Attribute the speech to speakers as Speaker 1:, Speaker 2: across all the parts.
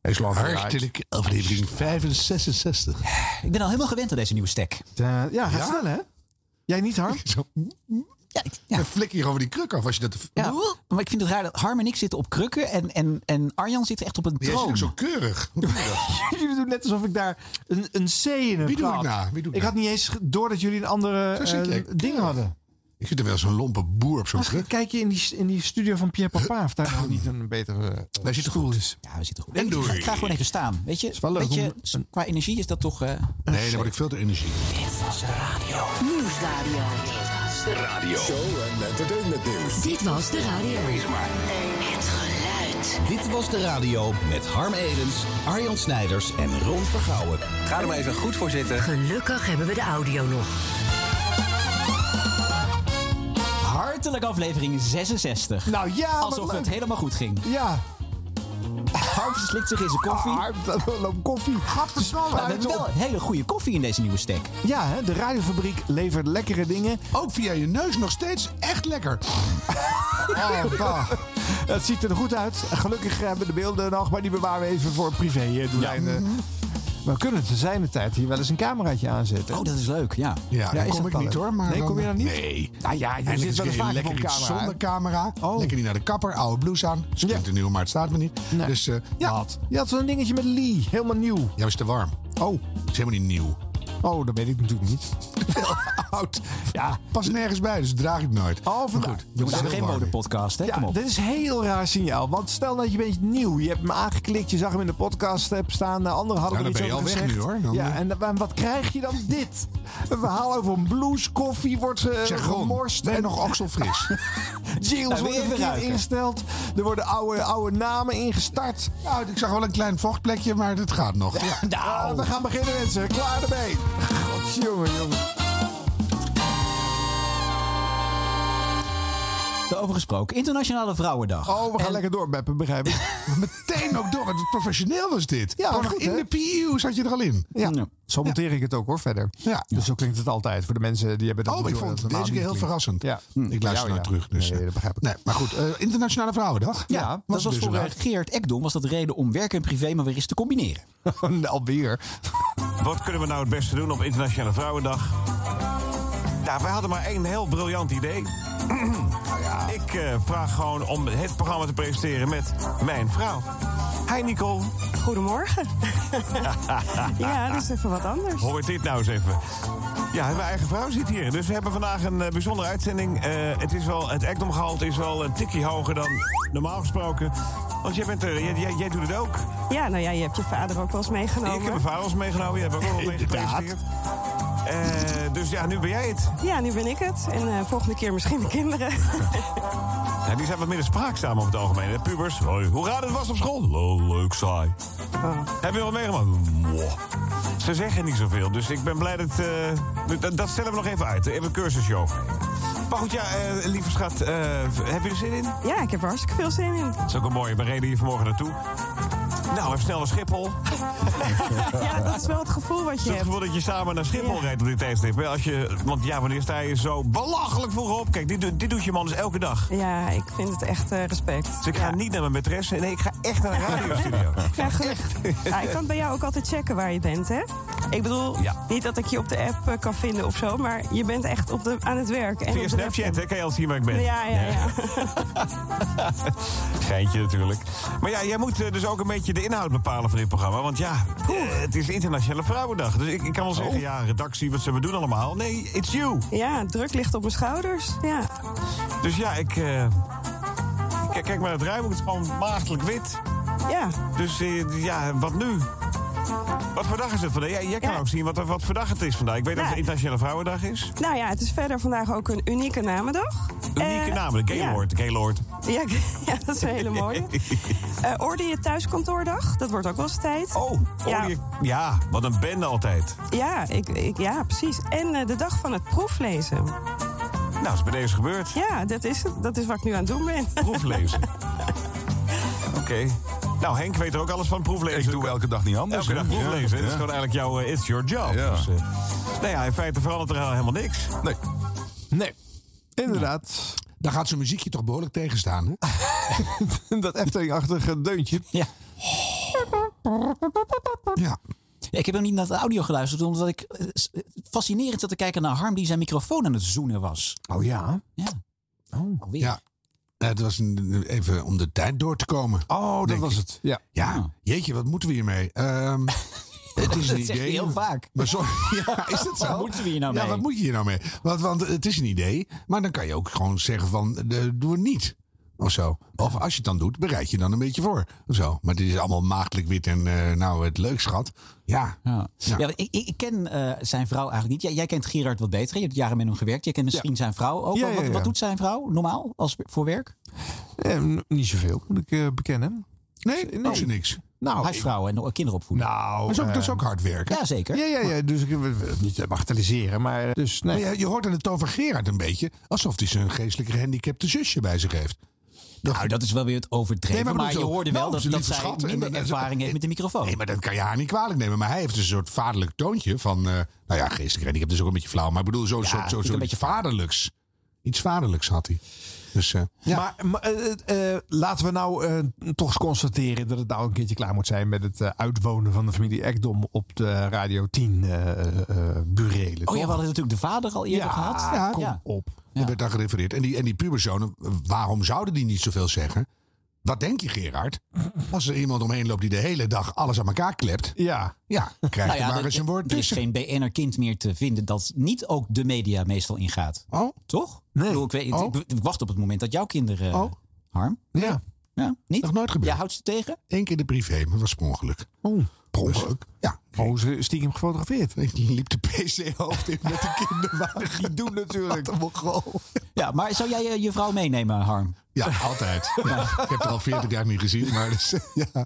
Speaker 1: Hij is lang
Speaker 2: Hartelijk aflevering 566.
Speaker 3: Ik ben al helemaal gewend aan deze nieuwe stack.
Speaker 4: ja, gaat snel hè? Jij niet, Harm?
Speaker 3: Ja, ik- ja.
Speaker 1: Dan mm, flik je over die kruk af als je dat...
Speaker 3: Ja, maar ik vind het raar dat Harm en ik zitten op krukken en, en, en Arjan zit echt op een
Speaker 1: Jij zit
Speaker 3: troon.
Speaker 1: ook zo keurig. Hoe doe je dat?
Speaker 4: jullie doen net alsof ik daar een, een C in
Speaker 1: Wie
Speaker 4: heb.
Speaker 1: doe ik
Speaker 4: gehad.
Speaker 1: nou? Wie doe ik
Speaker 4: ik
Speaker 1: nou?
Speaker 4: had niet eens ge- door dat jullie een andere
Speaker 1: Zo zit
Speaker 4: eh,
Speaker 1: jij.
Speaker 4: ding hadden.
Speaker 1: Ik zit er wel zo'n lompe boer op zo'n
Speaker 4: Ach,
Speaker 1: kruk.
Speaker 4: kijk je in die, in die studio van Pierre Papa of daar nou niet een betere eh,
Speaker 1: Wij zitten goed. Is.
Speaker 3: Ja, we zitten goed.
Speaker 1: En
Speaker 3: Ik
Speaker 1: door.
Speaker 3: ga, ik ga gewoon even staan. Weet je,
Speaker 4: wel leuk
Speaker 3: weet je
Speaker 4: om
Speaker 3: s- qua energie is dat toch... eh,
Speaker 1: Nee, dan word ik veel te energie.
Speaker 5: Nieuwsradio.
Speaker 6: Show en entertainment nieuws.
Speaker 5: Dit was de radio. Het geluid.
Speaker 7: Dit was de radio met Harm Edens, Arjan Snijders en Ron Vergouwen. Ga er maar even goed voor zitten.
Speaker 5: Gelukkig hebben we de audio nog.
Speaker 3: hartelijk aflevering 66.
Speaker 4: Nou ja, wat
Speaker 3: Alsof
Speaker 4: leuk.
Speaker 3: het helemaal goed ging.
Speaker 4: Ja, Ah,
Speaker 3: Harm slikt zich in zijn koffie.
Speaker 4: Harm, dan loopt koffie. Gaat snel
Speaker 3: Maar we hebben wel een hele goede koffie in deze nieuwe stack.
Speaker 4: Ja, hè, de radiofabriek levert lekkere dingen.
Speaker 1: Ook via je neus nog steeds echt lekker.
Speaker 4: Oh, bah. Het ziet er goed uit. Gelukkig hebben we de beelden nog, maar die bewaren we even voor privé. eh, doeleinden. We kunnen te zijn de tijd hier wel eens een cameraatje aanzetten.
Speaker 3: Oh, dat is leuk, ja.
Speaker 1: Ja, daar
Speaker 4: is
Speaker 1: kom
Speaker 4: dat
Speaker 1: ik
Speaker 4: dan
Speaker 1: niet
Speaker 4: het?
Speaker 1: hoor. Maar
Speaker 4: Nee,
Speaker 1: dan-
Speaker 4: kom je dan niet?
Speaker 1: Nee.
Speaker 4: Nou ja, je
Speaker 1: Eindelijk
Speaker 4: zit wel
Speaker 1: eens
Speaker 4: eens
Speaker 1: een keer
Speaker 4: vaker op
Speaker 1: lekker
Speaker 4: een
Speaker 1: iets
Speaker 4: camera. hè?
Speaker 1: zonder camera.
Speaker 4: Oh.
Speaker 1: Lekker niet naar de kapper, oude blouse aan. Ze
Speaker 4: Ja.
Speaker 1: ja. een nieuwe, maar het staat me niet.
Speaker 4: Nee.
Speaker 1: Dus eh,
Speaker 4: Ja,
Speaker 1: wat?
Speaker 4: je had zo'n dingetje met Lee. Helemaal nieuw.
Speaker 1: Jij was te warm.
Speaker 4: Oh,
Speaker 1: Het is helemaal niet nieuw.
Speaker 4: oh dat weet ik natuurlijk niet.
Speaker 1: Oud.
Speaker 4: Ja,
Speaker 1: Pas nergens bij, dus draag ik het nooit.
Speaker 4: Oh, vandaar.
Speaker 1: Maar
Speaker 4: We
Speaker 3: We
Speaker 1: jongens, heel
Speaker 3: hebben geen
Speaker 1: warm.
Speaker 3: modepodcast, hè? Kom
Speaker 4: ja
Speaker 3: op.
Speaker 4: dit is een heel raar signaal. Want stel dat je bent nieuw. Je hebt hem aangeklikt. Je zag hem in de podcast app staan. eh, Anderen hadden
Speaker 1: Ja,
Speaker 4: er
Speaker 1: dan
Speaker 4: iets
Speaker 1: ben je
Speaker 4: over
Speaker 1: al weg
Speaker 4: gezegd.
Speaker 1: nu, hoor. Dan,
Speaker 4: ja,
Speaker 1: eh.
Speaker 4: en, en wat krijg je dan? Dit. Een verhaal over een blues. Koffie wordt eh,
Speaker 1: Zeg Ron,
Speaker 4: gemorst.
Speaker 1: ben je
Speaker 4: en
Speaker 1: nog okselfris?
Speaker 4: jingles
Speaker 3: Nou, wil je
Speaker 4: worden
Speaker 3: even
Speaker 4: verkeerd
Speaker 3: ruiken?
Speaker 4: ingesteld. Er worden oude, oude namen ingestart.
Speaker 1: nou, ik zag wel een klein vochtplekje, maar dat gaat nog. Ja. Ah,
Speaker 4: Nou, we gaan beginnen mensen. Klaar ermee. Godjongen, jongen.
Speaker 3: Daarover gesproken. Internationale Vrouwendag.
Speaker 4: Oh, we gaan
Speaker 3: En-
Speaker 4: lekker doorbeppen, begrijp ik.
Speaker 1: Meteen ook door, want professioneel was dit.
Speaker 4: Ja,
Speaker 1: Gewoon nog
Speaker 4: goed,
Speaker 1: in
Speaker 4: hè?
Speaker 1: de PU zat je er al in.
Speaker 4: Ja,
Speaker 3: Ja.
Speaker 4: zo monteer ik het ook hoor, verder.
Speaker 1: Ja.
Speaker 4: Dus zo klinkt het altijd voor de mensen die hebben dat
Speaker 1: Oh, ik
Speaker 4: niet door,
Speaker 1: vond het
Speaker 4: dat
Speaker 1: deze
Speaker 4: normaal
Speaker 1: keer heel
Speaker 4: niet klinkt.
Speaker 1: verrassend.
Speaker 4: Ja. Hm.
Speaker 1: Ik luister
Speaker 4: Ja,
Speaker 1: naar
Speaker 4: ja.
Speaker 1: terug. Dus,
Speaker 4: Nee, dat begrijp ik.
Speaker 1: Nee, maar goed, eh, Internationale Vrouwendag.
Speaker 4: Ja,
Speaker 1: Wat
Speaker 3: Dat was
Speaker 1: dus
Speaker 3: voor
Speaker 1: een-
Speaker 3: eh, Geert Ekdom was dat reden om werk en privé maar weer eens te combineren.
Speaker 4: Alweer.
Speaker 8: Wat kunnen we nou het beste doen op Internationale Vrouwendag? Nou, wij hadden maar één heel briljant idee. Ik eh, vraag gewoon om het programma te presenteren met mijn vrouw. Hi Nicole,
Speaker 9: Goedemorgen. ja, dat is even wat anders.
Speaker 8: hoort dit nou eens even. Ja, mijn eigen vrouw zit hier. Dus we hebben vandaag een eh, bijzondere uitzending. Eh, het is wel, het actomgehalte is wel een tikje hoger dan normaal gesproken. Want jij, bent er, jij, jij, jij doet het ook.
Speaker 9: Ja, nou ja, je hebt je vader ook wel eens
Speaker 8: Ik heb
Speaker 9: meegenomen.
Speaker 8: mijn vaders meegenomen, jij hebt ook al mee gepresenteerd. Eh, dus ja, nu ben jij het.
Speaker 9: Ja, nu ben ik het. En eh, volgende keer misschien de kinderen.
Speaker 8: Ja, die zijn wat minder spraakzaam over het algemeen. Hè? Pubers, hoi, hoe raar het was op school? Lo- Leuk saai.
Speaker 9: Oh.
Speaker 8: Heb je wel meegemaakt? Mwah. Ze zeggen niet zoveel, dus ik ben blij dat... eh, dat, dat stellen we nog even uit. Even een cursusje over. Maar goed, ja, eh, lieve schat, eh, heb je er zin in?
Speaker 9: Ja, ik heb er hartstikke veel zin in.
Speaker 8: Dat is ook een mooie. We reden hier vanmorgen naartoe. Nou, even snel naar Schiphol. Het
Speaker 9: Ja, dat is wel het gevoel wat je
Speaker 8: is het
Speaker 9: hebt.
Speaker 8: gevoel dat je samen naar Schiphol
Speaker 9: Ja.
Speaker 8: rijdt op dit tijdstip. hè? Als je, want ja, wanneer sta je zo belachelijk vroeg op? Kijk, dit, doet- dit doet je man dus elke dag.
Speaker 9: Ja, ik vind het echt eh, respect.
Speaker 8: Dus ik ga niet naar mijn maîtresse. Nee, ik ga echt naar een radiostudio.
Speaker 9: Ja, gelukkig. Ja, ik kan bij jou ook altijd checken waar je bent, hè? Ik bedoel,
Speaker 8: Ja.
Speaker 9: niet dat ik je op de app eh, kan vinden of zo, maar je bent echt op de, aan het werk. En
Speaker 8: Via
Speaker 9: op de
Speaker 8: Snapchat,
Speaker 9: webcam.
Speaker 8: hè? Kan je al zien waar ik ben?
Speaker 9: Ja, ja, ja.
Speaker 8: Geintje natuurlijk. Maar ja, jij moet eh, dus ook een beetje de inhoud bepalen van dit programma. Want ja, eh, het is Internationale Vrouwendag. Dus ik, ik kan wel zeggen,
Speaker 9: Oh.
Speaker 8: ja, redactie, wat zullen we doen allemaal? Oh, Nee, it's you.
Speaker 9: Ja, druk ligt op mijn schouders. Ja.
Speaker 8: Dus ja, ik... eh, k- kijk maar, het ruimte is gewoon maagdelijk wit.
Speaker 9: ja,
Speaker 8: Dus eh, ja, wat nu? Wat voor dag is het vandaag? Jij, jij kan
Speaker 9: Ja. Nou.
Speaker 8: ook zien wat, wat voor dag het is vandaag. Ik weet dat
Speaker 9: Ja.
Speaker 8: het Internationale Vrouwendag is.
Speaker 9: Nou ja, het is verder vandaag ook een unieke namendag.
Speaker 8: Unieke
Speaker 9: Eh,
Speaker 8: naam, de
Speaker 9: ja.
Speaker 8: Gaylord. de Gaylord.
Speaker 9: Ja, ja, dat is een hele mooie. Eh orde je thuiskantoordag, dat wordt ook wel eens tijd.
Speaker 8: Oh,
Speaker 9: Ja.
Speaker 8: ja. ja, wat een bende altijd.
Speaker 9: Ja, ik, ik, ja, precies. En eh, de dag van het proeflezen.
Speaker 8: Nou, dat is bij deze gebeurd.
Speaker 9: Ja, dat is, het. dat is wat ik nu aan het doen ben.
Speaker 8: Proeflezen. Oké. Nou, Henk weet er ook alles van proeflezen.
Speaker 2: Ik doe elke dag niet anders.
Speaker 8: Elke
Speaker 2: hè?
Speaker 8: dag proeflezen.
Speaker 2: Ja.
Speaker 8: Dat is gewoon eigenlijk jouw eh, it's your job.
Speaker 2: Ja.
Speaker 8: Dus, eh, nou ja, in feite verandert er helemaal niks.
Speaker 2: Nee.
Speaker 4: Nee. Inderdaad.
Speaker 1: Daar gaat zo'n muziekje toch behoorlijk tegenstaan. Hè?
Speaker 4: Dat Efteling-achtige deuntje.
Speaker 3: Ja.
Speaker 1: Ja.
Speaker 3: Ja, ik heb ook niet naar de audio geluisterd, omdat ik eh, s- eh, fascinerend zat te kijken naar Harm die zijn microfoon aan het zoenen was.
Speaker 4: Oh ja.
Speaker 3: Ja. Oh, Alweer.
Speaker 1: Ja. Eh, het was een- even om de tijd door te komen.
Speaker 4: Oh, dat
Speaker 1: Denk
Speaker 4: was
Speaker 1: ik.
Speaker 4: het. Ja.
Speaker 1: Ja, jeetje, wat moeten we hiermee? Ehm, het is een
Speaker 3: Dat zeg je
Speaker 1: idee.
Speaker 3: heel vaak.
Speaker 1: Maar sorry, ja, is dat zo?
Speaker 3: Wat moeten we hier nou
Speaker 1: ja,
Speaker 3: mee?
Speaker 1: wat moet je hier nou mee? Want, want het is een idee, maar dan kan je ook gewoon zeggen van, eh, doe het niet. Of zo. Of als je het dan doet, bereid je dan een beetje voor. Of zo. Maar dit is allemaal maagdelijk wit en eh, nou, het leuk schat. Ja.
Speaker 3: Ja.
Speaker 1: Ja.
Speaker 3: Ja, ik, ik ik ken eh, zijn vrouw eigenlijk niet. Jij, jij kent Gerard wat beter. Je hebt jaren met hem gewerkt. Je kent misschien zijn vrouw ook.
Speaker 4: Ja,
Speaker 3: wel.
Speaker 4: ja,
Speaker 3: wat,
Speaker 4: ja.
Speaker 3: wat doet zijn vrouw normaal als, voor werk?
Speaker 4: Eh, n- niet zoveel, moet ik eh, bekennen.
Speaker 1: Nee, nee.
Speaker 3: oh.
Speaker 1: ze niks.
Speaker 4: Nou,
Speaker 3: Huisvrouw en eh, kinderen opvoeden.
Speaker 4: nou
Speaker 1: Maar dat is ook,
Speaker 4: eh,
Speaker 1: dat is ook hard werken.
Speaker 3: ja, zeker.
Speaker 4: Ja, ja, ja. Dus ik wil het niet bagatelliseren, maar eh, dus nee.
Speaker 1: Maar je, je hoort aan de toon van Gerard een beetje alsof hij zijn geestelijke gehandicapte zusje bij zich heeft.
Speaker 3: Nou, dat is wel weer het overdreven.
Speaker 1: Nee, maar
Speaker 3: maar
Speaker 1: ik
Speaker 3: je
Speaker 1: bedoel,
Speaker 3: hoorde
Speaker 1: nou,
Speaker 3: wel dat,
Speaker 1: ze
Speaker 3: dat
Speaker 1: lieve
Speaker 3: zij
Speaker 1: schat, en-
Speaker 3: minder
Speaker 1: en- en-
Speaker 3: ervaring heeft met de microfoon.
Speaker 1: Nee, maar dat kan je haar niet kwalijk nemen. Maar hij heeft dus een soort vaderlijk toontje van... eh, nou ja, geestelijk ik heb dus ook een beetje flauw. Maar ik bedoel, zo'n soort, zo,
Speaker 3: ik
Speaker 1: zo
Speaker 3: een beetje
Speaker 1: vaderlijks. Iets vaderlijks had hij. Dus eh, ja.
Speaker 4: Maar, maar, eh, eh, laten we nou eh, toch eens constateren dat het nou een keertje klaar moet zijn met het eh, uitwonen van de familie Ekdom op de Radio 10 eh eh, eh, burelen.
Speaker 3: oh ja, we
Speaker 4: toch?
Speaker 3: hadden natuurlijk de vader al eerder
Speaker 4: Ja,
Speaker 3: gehad.
Speaker 4: kom
Speaker 3: Ah, ja.
Speaker 4: op.
Speaker 1: er werd daar gerefereerd. En die, en die puberzonen, waarom zouden die niet zoveel zeggen? Wat denk je, Gerard? Als er iemand omheen loopt die de hele dag alles aan elkaar klept...
Speaker 4: Ja,
Speaker 1: Ja, krijg
Speaker 3: Nou ja,
Speaker 1: je maar
Speaker 3: dat-
Speaker 1: eens een woord
Speaker 3: er is
Speaker 1: tussen.
Speaker 3: geen BN'er kind meer te vinden dat niet ook de media meestal ingaat.
Speaker 1: Oh,
Speaker 3: Toch? Ik, bedoel, ik, weet,
Speaker 1: Oh.
Speaker 3: ik, ik wacht op het moment dat jouw kinderen... eh,
Speaker 1: Oh.
Speaker 3: Harm?
Speaker 1: ja.
Speaker 3: Ja, niet?
Speaker 1: Nog nooit gebeurd.
Speaker 3: Jij houdt ze tegen?
Speaker 1: Eén keer de privé, maar was per ongeluk.
Speaker 4: Oh.
Speaker 1: Per ongeluk? Ja.
Speaker 4: oh, ze stiekem gefotografeerd.
Speaker 1: Ik liep de PC-hoofd in met de kinderwagen.
Speaker 4: Die doen natuurlijk.
Speaker 3: Ja, maar zou jij eh, je vrouw meenemen, Harm?
Speaker 1: Ja, altijd. Ja. Nou, Ik heb het al 40 jaar niet gezien, maar dus, ja. Nee,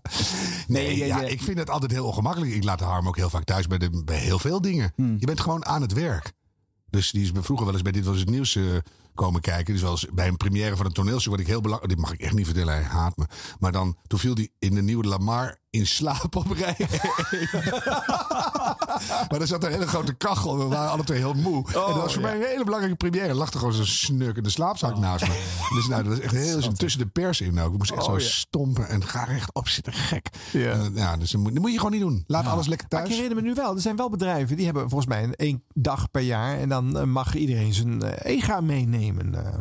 Speaker 3: Nee,
Speaker 1: ja,
Speaker 3: je-
Speaker 1: ik vind het altijd heel ongemakkelijk. Ik laat Harm ook heel vaak thuis bij, de, bij heel veel dingen.
Speaker 3: Hmm.
Speaker 1: Je bent gewoon aan het werk. Dus die is me vroeger wel eens bij Dit Was Het Nieuws eh, komen kijken. Dus wel eens bij een première van een toneelstuk, wat ik heel belangrijk... Dit mag ik echt niet vertellen, hij haat me. Maar dan, toen viel hij in de nieuwe Lamar in slaap op rij één. maar er zat een hele grote kachel en we waren alle twee heel moe. en dat was
Speaker 4: Oh,
Speaker 1: voor mij een hele belangrijke première. Er lag er gewoon zo'n snurk in de slaapzak naast me. Dus nou, dat was echt heel zo tussen de pers in ook. Ik moest echt zo stompen en ga rechtop zitten, gek.
Speaker 4: Oh, Ja.
Speaker 1: En, ja, dus dat moet, dat moet je gewoon niet doen. Laat alles lekker
Speaker 4: Nou, Maar ik
Speaker 1: thuis.
Speaker 4: herinner me nu wel, er zijn wel bedrijven die hebben volgens mij een één dag per jaar. En dan eh, mag iedereen zijn eh, EGA meenemen. eh.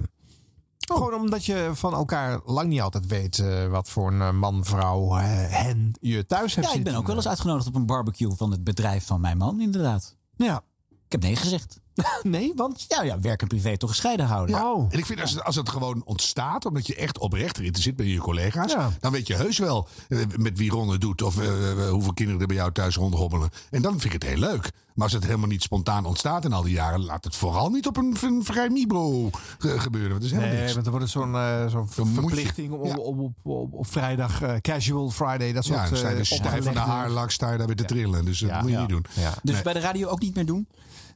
Speaker 4: Gewoon omdat je van elkaar lang niet altijd weet eh, wat voor een eh, man, vrouw, eh, hen je thuis hebt
Speaker 3: Ja, ik ben
Speaker 4: zitten.
Speaker 3: ook wel eens uitgenodigd op een barbecue van het bedrijf van mijn man, inderdaad.
Speaker 4: Ja,
Speaker 3: Ik heb nee gezegd.
Speaker 4: nee, want...
Speaker 3: Ja, ja werk en privé toch gescheiden houden.
Speaker 4: Oh.
Speaker 1: En ik vind als het, als het gewoon ontstaat, omdat je echt oprecht erin zit bij je collega's,
Speaker 4: Ja.
Speaker 1: dan weet je heus wel eh, met wie Ron het doet of eh, hoeveel kinderen er bij jou thuis rondhobbelen. En dan vind ik het heel leuk. Maar als het helemaal niet spontaan ontstaat in al die jaren, laat het vooral niet op een, een vrij Mibro ge- gebeuren. Want het is helemaal
Speaker 4: Nee,
Speaker 1: niks.
Speaker 4: want dan wordt het zo'n eh, zo'n
Speaker 1: moet je-
Speaker 4: verplichting om,
Speaker 1: Ja.
Speaker 4: om- op, op, op vrijdag, eh, casual Friday, dat soort
Speaker 1: Ja, dan sta je
Speaker 4: eh,
Speaker 1: dus stijf van de
Speaker 4: opgelegde-
Speaker 1: haarlak, sta je daar weer te trillen. Dus dat
Speaker 4: Ja.
Speaker 1: moet je
Speaker 4: Ja.
Speaker 1: niet doen.
Speaker 4: Ja.
Speaker 3: Dus
Speaker 1: Nee.
Speaker 3: bij de radio ook niet meer doen?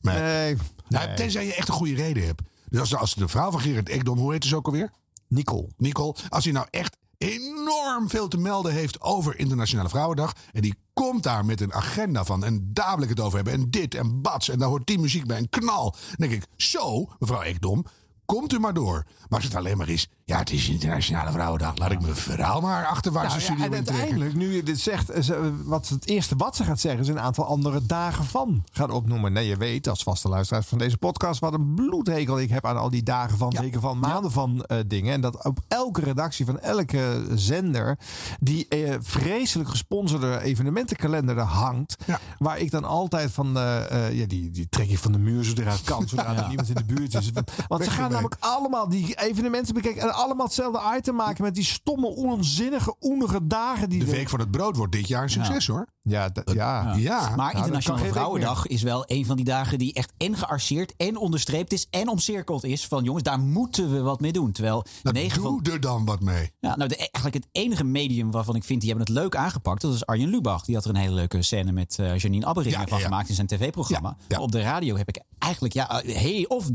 Speaker 1: Nee.
Speaker 4: Nee,
Speaker 1: Nou,
Speaker 4: nee.
Speaker 1: tenzij je echt een goede reden hebt. Dus als, als de vrouw van Gerard Ekdom, hoe heet ze ook alweer?
Speaker 4: Nicole.
Speaker 1: Nicole, als hij nou echt enorm veel te melden heeft over Internationale Vrouwendag. En die komt daar met een agenda van. En daar wil ik het over hebben. En dit en bats. En daar hoort die muziek bij. En knal. Dan denk ik, zo, mevrouw Ekdom, komt u maar door. Maar als het alleen maar is, ja, het is Internationale Vrouwendag. Laat ik mijn verhaal maar achterwaarts de
Speaker 4: Nou ja,
Speaker 1: studio
Speaker 4: en
Speaker 1: intrekken.
Speaker 4: uiteindelijk, nu je dit zegt, eh, ze- wat het eerste wat ze gaat zeggen, is een aantal andere dagen van gaan opnoemen. Nee, je weet als vaste luisteraars van deze podcast wat een bloedhekel ik heb aan al die dagen van, weken van, maanden van eh, dingen. En dat op elke redactie van elke zender die eh, vreselijk gesponsorde evenementenkalender er hangt,
Speaker 1: Ja.
Speaker 4: waar ik dan altijd van, eh, eh, ja, die, die trek ik van de muur zodra het kan, zodra er niemand in de buurt is. Want- Want
Speaker 1: Weg
Speaker 4: ze gaan
Speaker 1: ermee.
Speaker 4: namelijk allemaal die evenementen bekijken en allemaal hetzelfde item maken met die stomme, onzinnige, oenige dagen die
Speaker 1: De
Speaker 4: er-
Speaker 1: Week van het Brood wordt dit jaar een succes, hoor.
Speaker 4: Ja, d- ja. Nou,
Speaker 1: Ja. Nou,
Speaker 3: Maar
Speaker 4: dat kan
Speaker 3: Internationale
Speaker 4: geen
Speaker 3: Vrouwendag is wel een van die dagen die echt en gearseerd en onderstreept is en omcirkeld is. Van jongens, daar moeten we wat mee doen. Terwijl
Speaker 1: Nou,
Speaker 3: negen van...
Speaker 1: doe er dan wat mee.
Speaker 3: Ja, nou, de, eigenlijk het enige medium waarvan ik vind die hebben het leuk aangepakt, dat is Arjen Lubach. Die had er een hele leuke scène met eh, Janine Abberingen
Speaker 1: Ja, ja,
Speaker 3: van
Speaker 1: ja.
Speaker 3: gemaakt in zijn tv-programma.
Speaker 1: Ja, ja.
Speaker 3: Maar Op de radio heb ik eigenlijk ja, eh, hey, of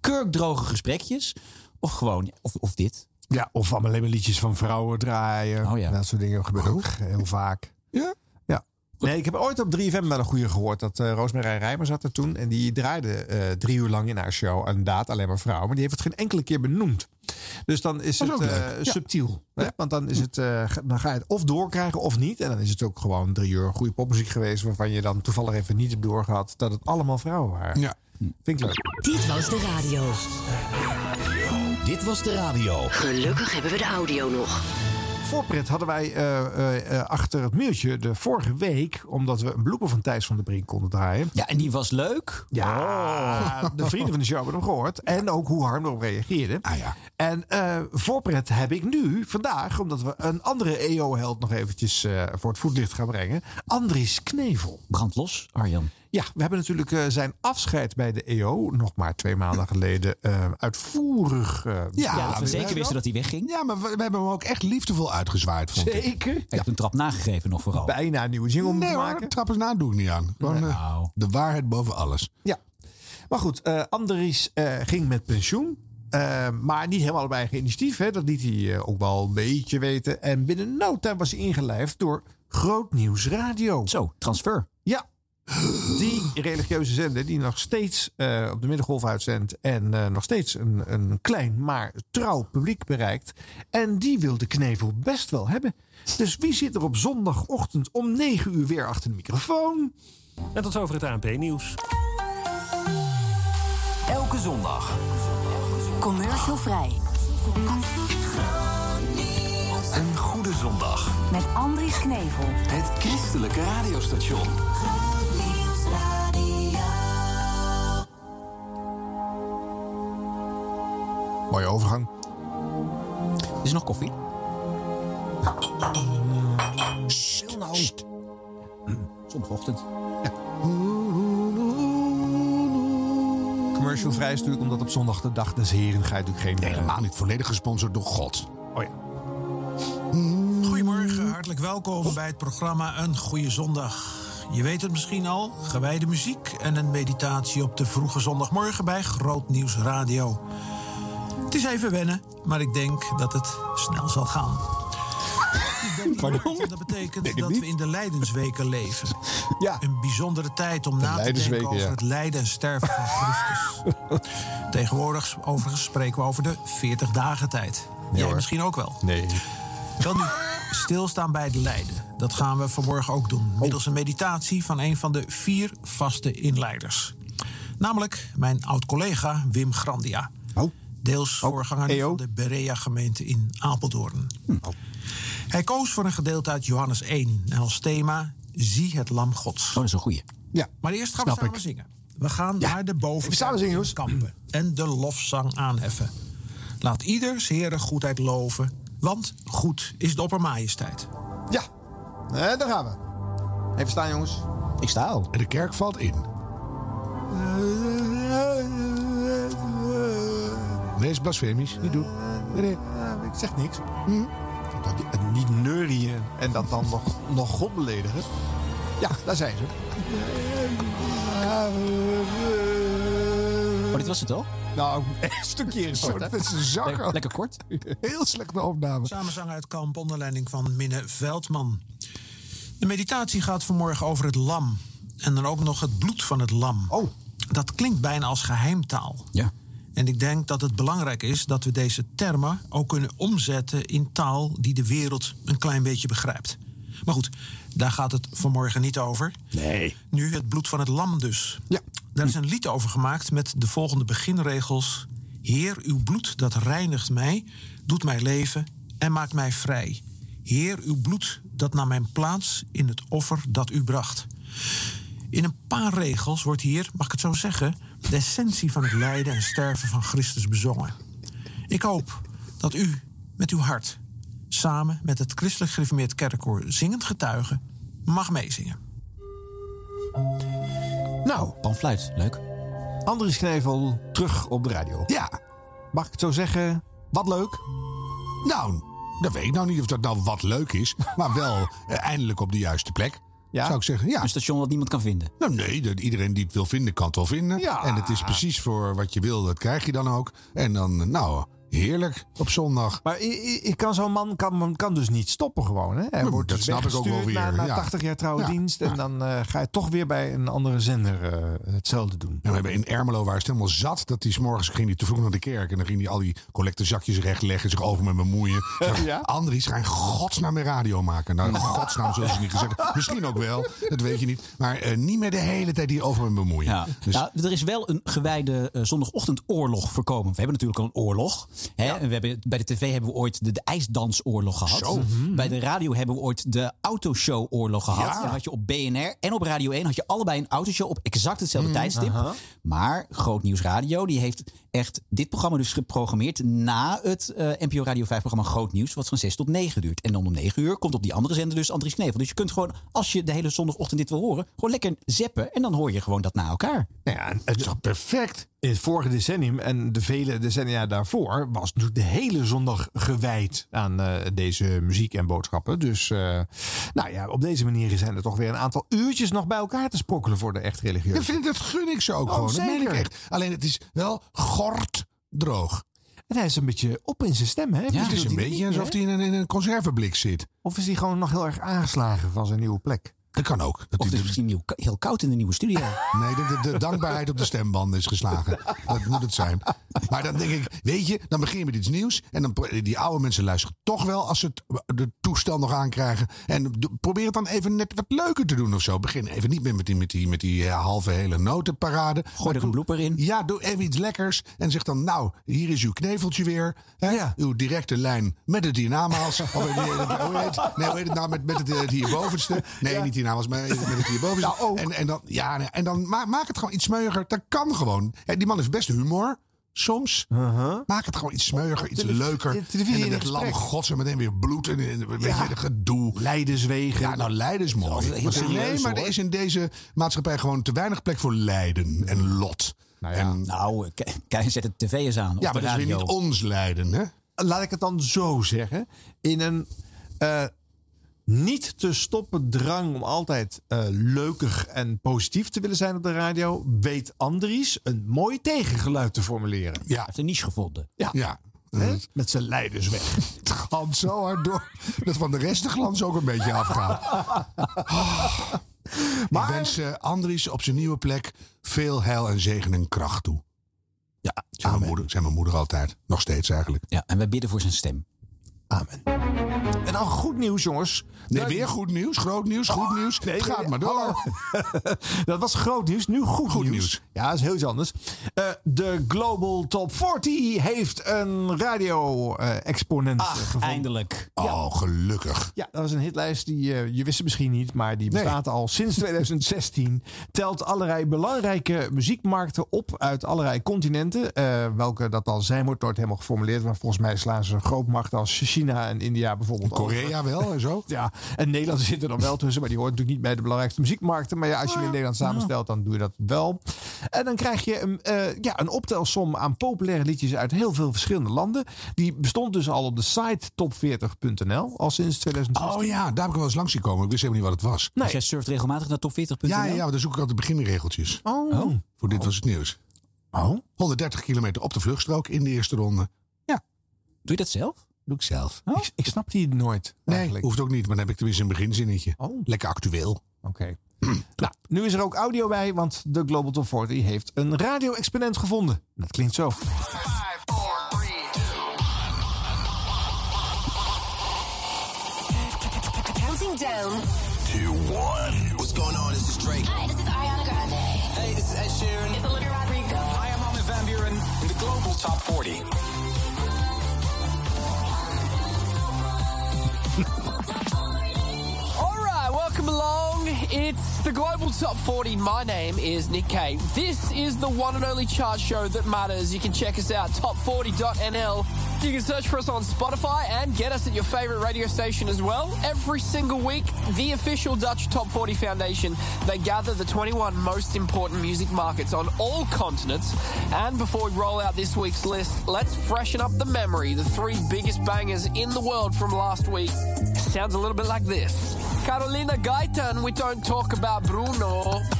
Speaker 3: kurkdroge gesprekjes, of gewoon, of, of dit.
Speaker 4: Ja, of allemaal alleen maar liedjes van vrouwen draaien.
Speaker 3: Oh ja.
Speaker 4: Dat soort dingen gebeuren ook heel vaak.
Speaker 1: Ja?
Speaker 4: Ja. Nee, ik heb ooit op 3FM wel een goede gehoord. Dat eh Roosmarij Rijmer zat er toen. En die draaide eh, drie uur lang in haar show. Inderdaad, alleen maar vrouwen. Maar die heeft het geen enkele keer benoemd. Dus dan is
Speaker 1: Dat is ook
Speaker 4: het eh,
Speaker 1: leuk. Ja.
Speaker 4: subtiel. Hè? Want dan, is het, eh, ga- dan ga je het of doorkrijgen of niet. En dan is het ook gewoon drie uur goede popmuziek geweest. Waarvan je dan toevallig even niet hebt doorgehad dat het allemaal vrouwen waren.
Speaker 1: Ja.
Speaker 4: Vind ik leuk.
Speaker 5: Dit was de radio.
Speaker 7: Dit was de radio.
Speaker 5: Gelukkig hebben we de audio nog.
Speaker 4: Voorpret hadden wij eh, eh, eh, achter het muurtje de vorige week. Omdat we een bloemen van Thijs van der Brink konden draaien.
Speaker 3: Ja, en die was leuk. Oh.
Speaker 4: Ja, de vrienden van de show hebben hem gehoord. En ook hoe Harm erop reageerde.
Speaker 1: Ah ja.
Speaker 4: En eh, voorpret heb ik nu, vandaag, omdat we een andere EO-held nog eventjes eh, voor het voetlicht gaan brengen. Andries Knevel.
Speaker 3: Brand los, Arjan.
Speaker 4: Ja, we hebben natuurlijk eh, zijn afscheid bij de EO, nog maar twee maanden geleden, eh, uitvoerig. eh,
Speaker 1: Ja,
Speaker 3: Ja, dat we
Speaker 1: weet je
Speaker 3: zeker wisten dat hij wegging.
Speaker 1: Ja, maar we, we hebben hem ook echt liefdevol uitgezwaaid, vond ik.
Speaker 4: Zeker.
Speaker 3: Hij heeft een trap nagegeven nog vooral.
Speaker 4: Bijna een nieuwe jingle
Speaker 1: Nee
Speaker 4: moeten
Speaker 1: hoor,
Speaker 4: maken.
Speaker 1: trappers na doe ik niet aan. Gewoon, eh,
Speaker 3: Nou.
Speaker 1: de waarheid boven alles.
Speaker 4: Ja. Maar goed, eh Andries eh, ging met pensioen. Eh, maar niet helemaal op eigen initiatief. Hè. Dat liet hij eh, ook wel een beetje weten. En binnen no time was hij ingelijfd door Groot Nieuws Radio.
Speaker 3: Zo, transfer.
Speaker 4: Ja. Die religieuze zender die nog steeds eh, op de middengolf uitzendt. En eh, nog steeds een, een klein, maar trouw publiek bereikt. En die wil de knevel best wel hebben. Dus wie zit er op zondagochtend om 9 uur weer achter de microfoon?
Speaker 10: En tot over het ANP-nieuws.
Speaker 7: Elke zondag.
Speaker 11: Commercial vrij.
Speaker 7: Een goede zondag.
Speaker 11: Met Andries Knevel.
Speaker 7: Het christelijke radiostation.
Speaker 4: Mooie overgang.
Speaker 3: Is er nog koffie?
Speaker 4: Stil nou.
Speaker 3: Zondagochtend.
Speaker 4: Commercial vrij is natuurlijk omdat op zondag de dag des heren ga je natuurlijk geen...
Speaker 1: Helemaal niet volledig gesponsord door God.
Speaker 4: Oh ja.
Speaker 12: Mm. Goedemorgen, hartelijk welkom bij het programma Een Goede Zondag. Je weet het misschien al, gewijde muziek en een meditatie op de vroege zondagmorgen bij Groot Nieuws Radio. Het is even wennen, maar ik denk dat het snel zal gaan. Ik ben niet
Speaker 4: Pardon?
Speaker 12: maart, Dat
Speaker 4: Denk
Speaker 12: betekent
Speaker 4: het
Speaker 12: dat
Speaker 4: niet.
Speaker 12: we in de lijdensweken leven.
Speaker 4: Ja.
Speaker 12: Een bijzondere tijd om na te denken
Speaker 4: Lijdensweken,
Speaker 12: over
Speaker 4: ja.
Speaker 12: het lijden en sterven van Christus. Tegenwoordig overigens spreken we over de 40 dagen tijd. Jij
Speaker 4: hoor.
Speaker 12: misschien ook wel.
Speaker 4: Nee.
Speaker 12: Wel nu, stilstaan bij het lijden. Dat gaan we vanmorgen ook doen. Middels een meditatie van een van de vier vaste inleiders. Namelijk mijn oud-collega Wim Grandia.
Speaker 4: Oh. E
Speaker 12: Deels
Speaker 4: Ook
Speaker 12: voorganger
Speaker 4: EO?
Speaker 12: van de Berea-gemeente in Apeldoorn.
Speaker 4: Hm. Oh.
Speaker 12: Hij koos voor een gedeelte uit Johannes 1 en als thema Zie het Lam Gods.
Speaker 3: Oh, dat is een goeie.
Speaker 4: Ja.
Speaker 12: Maar eerst gaan we
Speaker 4: Snap
Speaker 12: samen
Speaker 4: ik.
Speaker 12: zingen. We gaan naar de
Speaker 4: even samen
Speaker 12: bovenkant
Speaker 4: zingen,
Speaker 12: in
Speaker 4: jongens.
Speaker 12: kampen en de lofzang aanheffen. Laat ieder zere goedheid loven, want goed is de oppermajesteit.
Speaker 4: Ja. Eh, daar gaan we. Even staan, jongens.
Speaker 3: Ik sta al.
Speaker 1: En de kerk valt in. Nee, is blasfemisch. Niet doen. Nee, nee.
Speaker 4: Eh, ik zeg niks.
Speaker 1: Hm?
Speaker 4: Dat, die- het niet neurien en dat dan nog, nog God beledigen. Ja, daar zijn ze.
Speaker 3: Oh, dit was het al?
Speaker 4: Nou, een stukje is het, hè?
Speaker 1: Dat is een zak.
Speaker 3: Le- lekker kort.
Speaker 1: Heel slechte opname.
Speaker 12: Samenzang uit kamp onder leiding van Minne Veldman. De meditatie gaat vanmorgen over het lam. En dan ook nog het bloed van het lam.
Speaker 4: Oh.
Speaker 12: Dat klinkt bijna als geheimtaal.
Speaker 3: Ja.
Speaker 12: En ik denk dat het belangrijk is dat we deze termen ook kunnen omzetten in taal die de wereld een klein beetje begrijpt. Maar goed, daar gaat het vanmorgen niet over. Nee. Nu het bloed van het lam dus.
Speaker 4: Ja.
Speaker 12: Daar is een lied over gemaakt met de volgende beginregels. Heer, uw bloed dat reinigt mij, doet mij leven en maakt mij vrij. Heer, uw bloed dat naar mijn plaats in het offer dat u bracht. In een paar regels wordt hier, mag ik het zo zeggen, de essentie van het lijden en sterven van Christus bezongen. Ik hoop dat u met uw hart, samen met het christelijk gereformeerd kerkkoor zingend getuigen, mag meezingen.
Speaker 4: Nou,
Speaker 3: Panfluit, leuk.
Speaker 4: Andries Knevel terug op de radio.
Speaker 1: Ja.
Speaker 4: Mag ik het zo zeggen? Wat leuk.
Speaker 1: Nou, dat weet ik nou niet of dat nou wat leuk is. Maar wel eh, eindelijk op de juiste plek.
Speaker 4: Ja?
Speaker 1: Zou ik zeggen, ja.
Speaker 3: Een station dat niemand kan vinden.
Speaker 1: Nou nee, dat iedereen die het wil vinden, kan het wel vinden.
Speaker 4: Ja.
Speaker 1: En het is precies voor wat je wil, dat krijg je dan ook. En dan, nou, Heerlijk op zondag.
Speaker 4: Maar i- i- ik kan zo'n man kan, kan dus niet stoppen gewoon. Hè? Hij
Speaker 1: Maar
Speaker 4: wordt
Speaker 1: dat
Speaker 4: dus
Speaker 1: snap ik ook wel
Speaker 4: weggestuurd
Speaker 1: weer,
Speaker 4: Na, na
Speaker 1: ja.
Speaker 4: 80 jaar trouwe
Speaker 1: Ja,
Speaker 4: dienst. En dan eh, ga je toch weer bij een andere zender eh, hetzelfde doen.
Speaker 1: En we hebben in Ermelo waar het helemaal zat dat hij s'morgens ging die te vroeg naar de kerk. En dan ging hij al die collectezakjes rechtleggen, zich over met bemoeien. ja? Andries, ga in godsnaam meer radio maken. Nou, in godsnaam zullen ze niet gezegd. Misschien ook wel, dat weet je niet. Maar eh, niet meer de hele tijd die over me bemoeien.
Speaker 3: Ja.
Speaker 1: Dus
Speaker 3: Nou, er is wel een gewijde eh, zondagochtendoorlog voorkomen. We hebben natuurlijk al een oorlog. Hè? En we hebben, bij de tv hebben we ooit de, de ijsdansoorlog gehad. Mhm.
Speaker 1: Zo. Mhm.
Speaker 3: Bij de radio hebben we ooit de autoshowoorlog gehad.
Speaker 1: Ja.
Speaker 3: Dan had je op BNR en op Radio 1 had je allebei een autoshow op exact hetzelfde tijdstip.
Speaker 1: Mm, aha.
Speaker 3: Maar Groot Nieuws Radio die heeft echt dit programma dus geprogrammeerd na het eh, NPO Radio 5 programma Groot Nieuws. Wat van 6 tot 9 duurt. En dan om 9 uur komt op die andere zender dus Andries Knevel. Dus je kunt gewoon, als je de hele zondagochtend dit wil horen, gewoon lekker zappen. En dan hoor je gewoon dat na elkaar.
Speaker 4: Nou ja,
Speaker 1: het is toch perfect?
Speaker 4: In het vorige decennium en de vele decennia daarvoor was natuurlijk de hele zondag gewijd aan eh, deze muziek en boodschappen. Dus eh, nou ja, op deze manier zijn er toch weer een aantal uurtjes nog bij elkaar te sprokkelen voor de echt
Speaker 1: dat,
Speaker 4: religieuze.
Speaker 1: vind ik, dat gun ik ze ook
Speaker 4: Oh,
Speaker 1: gewoon. Dat meen
Speaker 4: zeker.
Speaker 1: ik echt. Alleen het is wel gort droog.
Speaker 4: En hij is een beetje op in zijn stem, hè?
Speaker 1: Ja, het is een beetje alsof hij in een, in een conservenblik zit.
Speaker 4: Of is hij gewoon nog heel erg aangeslagen van zijn nieuwe plek?
Speaker 1: Dat kan ook. Dat hij
Speaker 3: Of het is
Speaker 1: de-
Speaker 3: misschien nieuw- heel koud in de nieuwe studio.
Speaker 1: Nee, de, de, de dankbaarheid op de stembanden is geslagen. Dat moet het zijn. Maar dan denk ik, weet je, dan begin je met iets nieuws. En dan pro- die oude mensen luisteren toch wel als ze het, de toestel nog aankrijgen. En do- probeer het dan even net wat leuker te doen of zo. Begin even niet meer met die, met die, met die eh, halve hele notenparade. Gooi
Speaker 3: er een blooper in.
Speaker 1: Ja, doe even iets lekkers. En zeg dan, nou, hier is uw kneveltje weer. Hè? Uw directe lijn met het dynama's. Of met die- hoe heet het? Nee, hoe heet het nou? Met, met het, eh, het hierbovenste. Nee, niet dynama's, maar met het hierbovenste. En, en dan, ja, nee, en dan ma- maak het gewoon iets smeuiger. Dat kan gewoon. Hè, die man heeft best humor. Soms. Maak het gewoon iets smeuiger, iets
Speaker 4: televi-
Speaker 1: leuker.
Speaker 4: in televisie
Speaker 1: en
Speaker 4: in
Speaker 1: dan het
Speaker 4: het
Speaker 1: lam
Speaker 4: gesprek.
Speaker 1: gods en meteen weer bloed. En, en weet je, de gedoe.
Speaker 4: Leiderswegen.
Speaker 1: Ja, nou, lijden is
Speaker 4: Dat
Speaker 1: mooi.
Speaker 4: is altijd heel
Speaker 1: Maar
Speaker 4: serieus,
Speaker 1: nee, maar er
Speaker 4: hoor.
Speaker 1: is in deze maatschappij gewoon te weinig plek voor lijden en lot. Nou ja,
Speaker 3: nou, kijk, zet het tv eens aan.
Speaker 1: Ja, maar
Speaker 3: op de
Speaker 1: dat is weer
Speaker 3: radio.
Speaker 1: niet ons lijden, hè?
Speaker 4: laat ik het dan zo zeggen. In een eh, niet te stoppen drang om altijd eh leukig en positief te willen zijn op de radio, weet Andries een mooi tegengeluid te formuleren.
Speaker 1: Ja. Hij
Speaker 3: heeft een niche gevonden.
Speaker 4: Ja.
Speaker 1: ja.
Speaker 4: Hè? Met zijn leiders weg.
Speaker 1: Het glans zo hard door. Dat van de rest de glans ook een beetje afgaat. Ah. Ik wens eh, Andries op zijn nieuwe plek veel heil en zegen en kracht toe.
Speaker 3: Ja,
Speaker 1: zijn mijn, moeder, zijn mijn moeder altijd. Nog steeds eigenlijk.
Speaker 3: Ja, en wij bidden voor zijn stem.
Speaker 4: En dan goed nieuws, jongens. Oh,
Speaker 1: Nee, weer goed nieuws, groot nieuws, goed nieuws. Het gaat maar door.
Speaker 4: Dat was groot nieuws, nu goed, nieuws. Ja, dat is heel iets anders. Eh, de Global Top 40 heeft een radio-exponent gevonden.
Speaker 3: Eindelijk.
Speaker 1: Oh, gelukkig.
Speaker 4: Ja, dat was een hitlijst die eh, je wist het misschien niet, maar die bestaat al sinds 2016. Telt allerlei belangrijke muziekmarkten op uit allerlei continenten. Eh, welke dat al zijn, wordt nooit helemaal geformuleerd. Maar volgens mij slaan ze een grootmacht als China en India bijvoorbeeld.
Speaker 1: Korea wel en zo.
Speaker 4: Ja, en Nederland zit er dan wel tussen, maar die hoort natuurlijk niet bij de belangrijkste muziekmarkten. Maar ja,
Speaker 1: Oh
Speaker 4: als je hem in Nederland samenstelt, dan doe je dat wel. En dan krijg je een, eh, ja, een optelsom aan populaire liedjes uit heel veel verschillende landen. Die bestond dus al op de site top40.nl al sinds 2016.
Speaker 1: Oh ja, daar heb ik wel eens langs zien komen. Ik wist helemaal niet wat het was.
Speaker 3: Dus jij surft regelmatig naar top40.nl?
Speaker 1: Ja, ja, ja, maar dan zoek ik altijd de beginregeltjes.
Speaker 4: Oh.
Speaker 1: Voor dit was het nieuws.
Speaker 4: Oh.
Speaker 1: 130 kilometer op de vluchtstrook in de eerste ronde.
Speaker 3: Doe je dat zelf?
Speaker 1: Doe ik zelf.
Speaker 4: Ik, ik snap die nooit.
Speaker 1: Nee, hoeft ook niet, maar dan heb ik tenminste een beginzinnetje.
Speaker 3: Oh.
Speaker 1: Lekker actueel.
Speaker 4: Oké. Nou, nu is er ook audio bij, want de Global Top 40 heeft een radio-exponent gevonden. Dat klinkt zo.
Speaker 11: Counting down.
Speaker 6: Two, one. What's going on? This is Drake.
Speaker 11: Hi, this is Ariana Grande.
Speaker 6: Hey, this is Ed Sheeran.
Speaker 11: It's Olivia Rodrigo.
Speaker 6: Hi, I'm Armin Van Buren. In the Global Top 40.
Speaker 13: All right, welcome along. It's the Global Top 40. My name is Nick Kay. This is the one and only chart show that matters. You can check us out, top40.nl. You can search for us on Spotify and get us at your favorite radio station as well. Every single week, the official Dutch Top 40 Foundation, they gather the 21 most important music markets on all continents. And before we roll out this week's list, let's freshen up the memory, the three biggest bangers in the world from last week. Sounds a little bit like this. Carolina Gaitan, we don't talk about Bruno.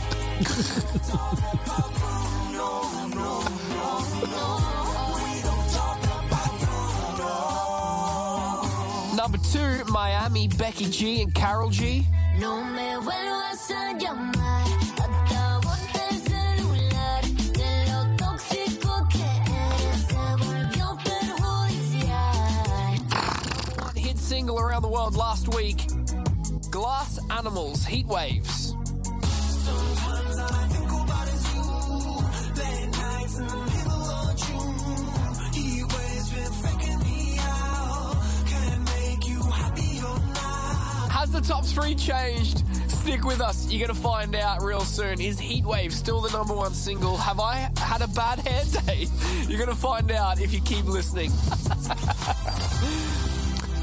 Speaker 13: to Miami, Becky G and Carol G.
Speaker 11: No me vuelvas a llamar. Acabo el celular de lo tóxico que eres. Se volvió perjudicial.
Speaker 13: Hit single around the world last week Glass Animals, Heat Waves. Has the top three changed? Stick with us. You're going to find out real soon. Is Heatwave still the number one single? Have I had a bad hair day? You're going to find out if you keep listening.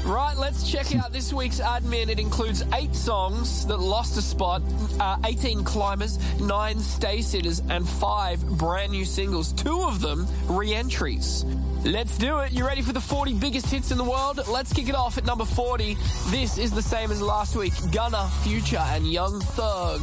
Speaker 13: Right, let's check out this week's admin. It includes eight songs that lost a spot, uh, 18 climbers, nine stay sitters, and five brand new singles. Two of them re entries. Let's do it. You ready for the 40 biggest hits in the world? Let's kick it off at number 40. This is the same as last week Gunna, Future, and Young Thug.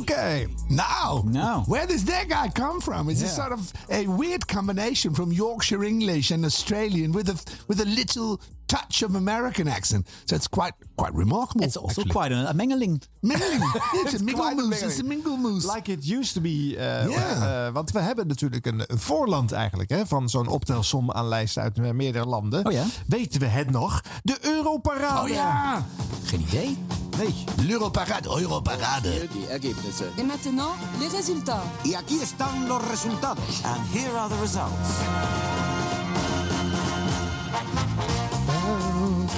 Speaker 1: Oké. Nou, where does that guy come from? It's a sort of a weird combination from Yorkshire English and Australian with a with a little touch of American accent. So it's quite quite remarkable. It's also
Speaker 3: quite a, a mengeling.
Speaker 1: Mengeling. It's, a
Speaker 4: It's
Speaker 1: mingle
Speaker 4: quite a
Speaker 1: moose. It's a
Speaker 4: mengeling.
Speaker 1: mingle moose.
Speaker 4: Like it used to be. eh,
Speaker 1: Ja.
Speaker 4: eh, want we hebben natuurlijk een voorland eigenlijk hè, van zo'n optelsom aan lijsten uit eh, meerdere landen. Weten we het nog? De
Speaker 1: Oh
Speaker 4: Europarade.
Speaker 1: ja.
Speaker 3: Geen idee.
Speaker 4: Nee.
Speaker 1: L'Europarade. Europarade.
Speaker 14: Die Ergebnisse.
Speaker 15: Et maintenant, les résultats.
Speaker 14: Y aquí están los resultados. And here are the results.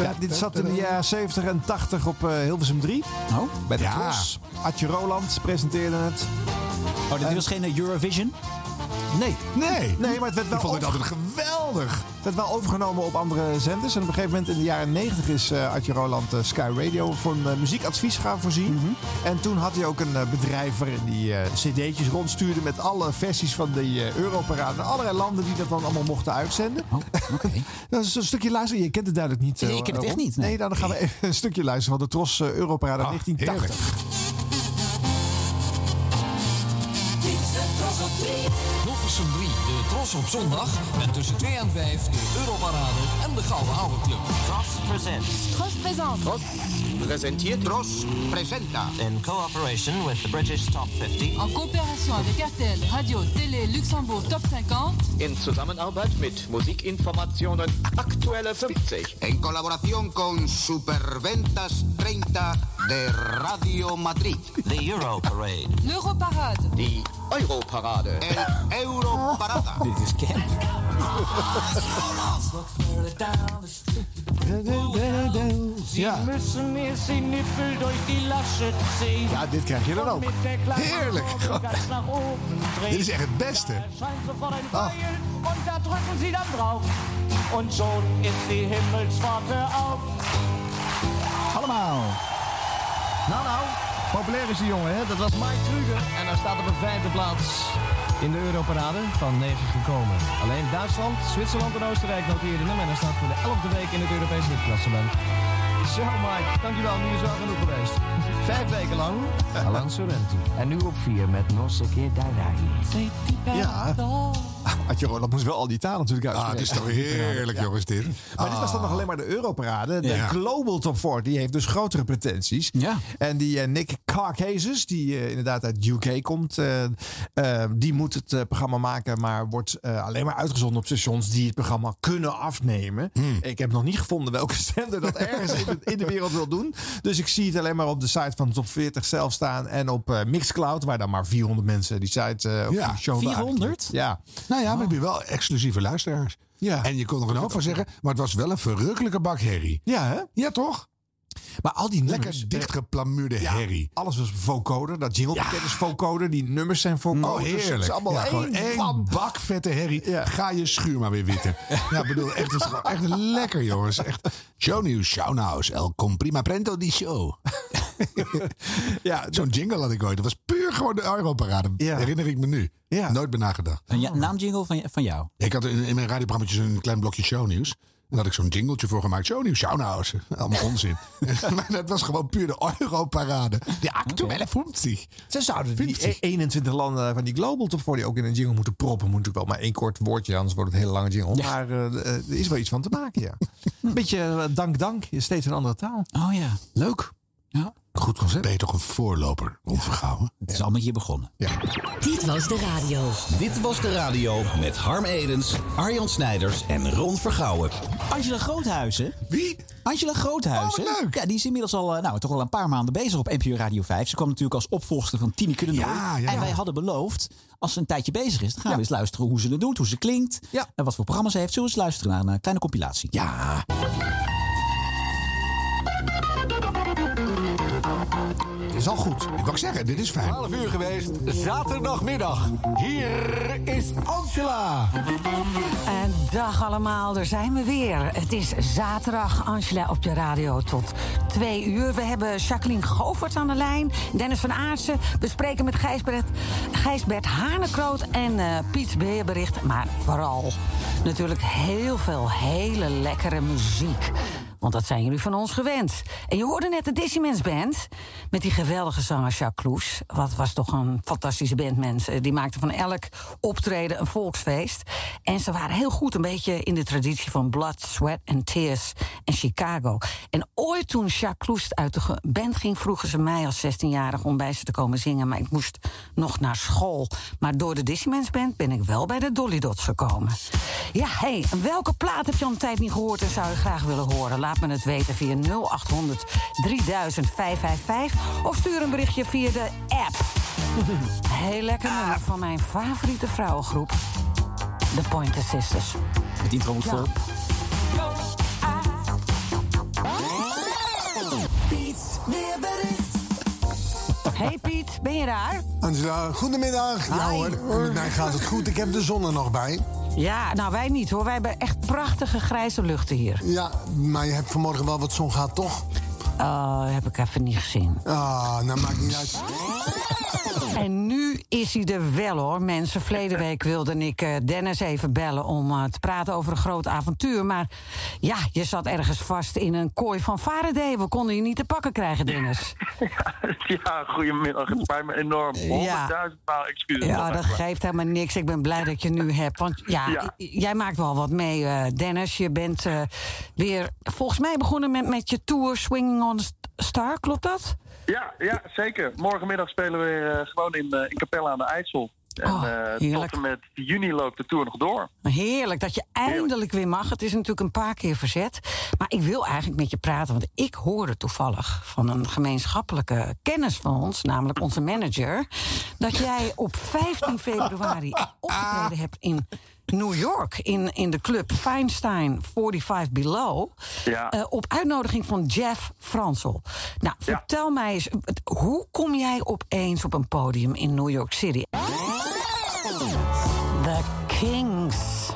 Speaker 4: Ja, dit zat in de jaren 70 en 80 op eh, Hilversum 3. Bij de
Speaker 3: Oh. Ja.
Speaker 4: Tros. Adje Roland presenteerde het.
Speaker 3: Oh, dit was geen eh, Eurovision?
Speaker 4: Nee.
Speaker 1: Nee.
Speaker 4: Nee, maar het werd wel
Speaker 3: Ik vond het
Speaker 4: over-
Speaker 3: altijd
Speaker 1: geweldig.
Speaker 4: Het werd wel overgenomen op andere zenders. En op een gegeven moment in de jaren 90 is eh Adje Roland eh, Sky Radio van eh, muziekadvies gaan voorzien.
Speaker 3: Mhm.
Speaker 4: En toen had hij ook een eh, bedrijf waarin die eh, cd'tjes rondstuurde met alle versies van de eh, Europarade. En allerlei landen die dat dan allemaal mochten uitzenden.
Speaker 3: Oh,
Speaker 4: dat is een stukje luisteren. Je kent het duidelijk niet. eh,
Speaker 3: Nee, ik ken het echt
Speaker 4: Rob.
Speaker 3: niet,
Speaker 4: Nee.
Speaker 3: nee.
Speaker 4: dan gaan we even een stukje luisteren van de Tros eh, Europarade 1980.
Speaker 16: Hilversum 3, de Tros op zondag. En tussen 2 en 5 de Europarade en de Gouden Oude Club. Tros presents.
Speaker 15: Tros présente.
Speaker 16: Presenteert Tros presenta. In cooperation with the British Top 50.
Speaker 15: En coopération avec RTL, Radio, Télé, Luxembourg, Top 50.
Speaker 16: In Zusammenarbeit mit Musikinformationen Aktuelle 50.
Speaker 14: En colaboración con Superventas 30 de Radio Madrid. The Euro Parade.
Speaker 15: L'Europarade.
Speaker 14: Die Europarade. El Europarada.
Speaker 3: Dit is camp.
Speaker 4: Ja. Ja, dit krijg je dan ook.
Speaker 1: Heerlijk. Dit is echt het beste.
Speaker 17: Ah. Und da drücken sie dann drauf. Und schon ist die Himmelspforte auf.
Speaker 4: Allemaal. Nou, nou. Populair is die jongen, hè? Dat was Mike Truger. En hij staat op een vijfde plaats.
Speaker 18: In de Europarade van 9 gekomen. Alleen Duitsland, Zwitserland en Oostenrijk noteerden hem. En hij staat voor de 11e week in het Europese hitklassement. Zo Mike, dankjewel. Nu is wel genoeg geweest. Vijf weken lang. Alan Sorrento. En nu op 4 met Nosse Keer
Speaker 4: Ja. Adje Roland moest wel al die taal natuurlijk
Speaker 1: Ah,
Speaker 4: uitspreken.
Speaker 1: het is toch heerlijk, jongens, dit.
Speaker 4: Maar dit was dan nog alleen maar de Europarade. De
Speaker 1: Oh. Ja.
Speaker 4: Global Top 40 heeft dus grotere pretenties. En die eh, Nick Carcasses, die eh, inderdaad uit UK komt, eh, eh, die moet het eh, programma maken, maar wordt eh, alleen maar uitgezonden op stations die het programma kunnen afnemen.
Speaker 1: Hmm.
Speaker 4: Ik heb nog niet gevonden welke zender dat ergens in, de- in de wereld wil doen. Dus ik zie het alleen maar op de site van Top 40 zelf staan en op eh, Mixcloud, waar dan maar 400 mensen die site eh, op
Speaker 1: Ja,
Speaker 4: die show
Speaker 1: 400?
Speaker 4: Ja. Ah.
Speaker 1: Nou ja, maar heb je wel exclusieve luisteraars. En je kon er een hoop van zeggen, maar het was wel een verrukkelijke bak herrie.
Speaker 4: Ja, hè?
Speaker 1: Ja, toch?
Speaker 4: Maar al die
Speaker 1: Lekker dichtgeplamuurde herrie.
Speaker 4: Alles was vocoder. Dat jinglepakket is vocoder. Die nummers zijn vocoder.
Speaker 1: Oh, heerlijk.
Speaker 4: Het is allemaal
Speaker 1: Ja, gewoon
Speaker 4: één
Speaker 1: één bak vette herrie. Ga je schuur maar weer witten. ja, ik bedoel, echt, het is gewoon echt lekker, jongens. Echt. Show news, show nows. El comprima prendo di show.
Speaker 4: ja,
Speaker 1: Zo'n jingle had ik ooit. Dat was puur gewoon de Europarade. Herinner ik me nu. Nooit bij nagedacht.
Speaker 3: Een ja- naamjingle van, van jou.
Speaker 1: Ik had in, in mijn radioprogrammaatjes een klein blokje shownieuws. daar had ik zo'n jingletje voor gemaakt. Zo nieuw Schauenhausen. Allemaal onzin. maar dat was gewoon puur de Europarade. De actuele 50.
Speaker 4: Ze zouden die e- 21 landen van die Global Top 40 ook in een jingle moeten proppen. Moet natuurlijk wel maar één kort woordje, anders wordt het een hele lange jingle.
Speaker 3: Ja.
Speaker 4: Maar eh, eh, er is wel iets van te maken, ja. Een beetje eh, dank dank, is steeds een andere taal.
Speaker 3: Oh ja.
Speaker 4: Leuk.
Speaker 3: Ja.
Speaker 1: Goed concept. Ben je toch een voorloper, onvergouwen?
Speaker 3: Het is allemaal hier begonnen.
Speaker 7: Dit was de radio. Dit was de radio met Harm Edens, Arjan Snijders en Ron Vergouwen.
Speaker 3: Angela Groothuizen. Wie? Angela Groothuizen.
Speaker 7: Oh,
Speaker 3: Ja, die is inmiddels al, eh, nou, toch al een paar maanden bezig op NPO Radio 5. Ze kwam natuurlijk als opvolgster van Tine Kuddendoor.
Speaker 1: Ja, ja.
Speaker 3: En wij hadden beloofd, als ze een tijdje bezig is, dan gaan we eens luisteren hoe ze het doet, hoe ze klinkt. En wat voor programma's ze heeft. Zullen we eens luisteren naar een eh, kleine compilatie? Ja. Eh,
Speaker 1: Het is al goed. Ik wou zeggen, dit is fijn.
Speaker 19: 12 uur geweest, zaterdagmiddag. Hier is Angela.
Speaker 20: En dag allemaal, daar zijn we weer. Het is zaterdag, Angela op de radio tot twee uur. We hebben Jacqueline Govert aan de lijn, Dennis van Aartsen. We spreken met Gijsbert, Gijsbert Hanekroot en eh, Piet Weerbericht. Maar vooral natuurlijk heel veel hele lekkere muziek. Want dat zijn jullie van ons gewend. En je hoorde net de Dissimens Band. Met die geweldige zanger Jacques Cloes. Wat was toch een fantastische band, mensen. Die maakten van elk optreden een volksfeest. En ze waren heel goed, een beetje in de traditie van Blood, Sweat and Tears en Chicago. En ooit toen Jacques Cloes uit de ge- band ging... vroegen ze mij als 16-jarige om bij ze te komen zingen. Maar ik moest nog naar school. Maar door de Dissimens Band ben ik wel bij de Dolly Dots gekomen. Ja, hé, hey, welke plaat heb je al een tijd niet gehoord... en zou je graag willen horen? Laat me het weten via 0800 3000 555... of stuur een berichtje via de app. Heel lekker nummer van mijn favoriete vrouwengroep. De Pointer Sisters.
Speaker 3: Het intro moet vol.
Speaker 20: Piet, meer bericht. Hey Piet, ben je daar?
Speaker 19: Angela, goedemiddag. Ja
Speaker 20: Hi.
Speaker 19: hoor, met mij gaat het goed. Ik heb de zon er nog bij.
Speaker 20: Ja, nou wij niet hoor. Wij hebben echt prachtige grijze luchten hier.
Speaker 19: Ja, maar je hebt vanmorgen wel wat zon gehad, toch?
Speaker 20: Oh, heb ik even niet gezien.
Speaker 19: Ah, nou maakt niet uit.
Speaker 20: En nu is hij er wel hoor, mensen. Verleden week wilde ik eh, Dennis even bellen om eh, te praten over een groot avontuur. Maar ja, je zat ergens vast in een kooi van Faraday. We konden je niet te pakken krijgen, Dennis.
Speaker 21: Ja, goedemiddag. Het spijt me enorm. 100.000 maal excuses.
Speaker 20: Ja, dat geeft helemaal niks. Ik ben blij dat je nu hebt. Want ja,
Speaker 21: Ja.
Speaker 20: i- jij maakt wel wat mee, eh, Dennis. Je bent eh, weer volgens mij begonnen met, met je tour Swinging on a St- Star, klopt dat?
Speaker 21: Ja, ja, zeker. Morgenmiddag spelen we eh, gewoon in, eh, in Capelle aan de IJssel. En
Speaker 20: Oh,
Speaker 21: eh, tot en met juni loopt de tour nog door.
Speaker 20: Nou, Heerlijk dat je eindelijk weer mag. Het is natuurlijk een paar keer verzet. Maar ik wil eigenlijk met je praten, want ik hoorde toevallig van een gemeenschappelijke kennis van ons, namelijk onze manager, dat jij op 15 februari opgetreden hebt in New York, in, in de club Feinstein 45 Below,
Speaker 21: Ja.
Speaker 20: eh, op uitnodiging van Jeff Fransel. Nou, vertel mij eens, het- hoe kom jij opeens op een podium in New York City? The Kings.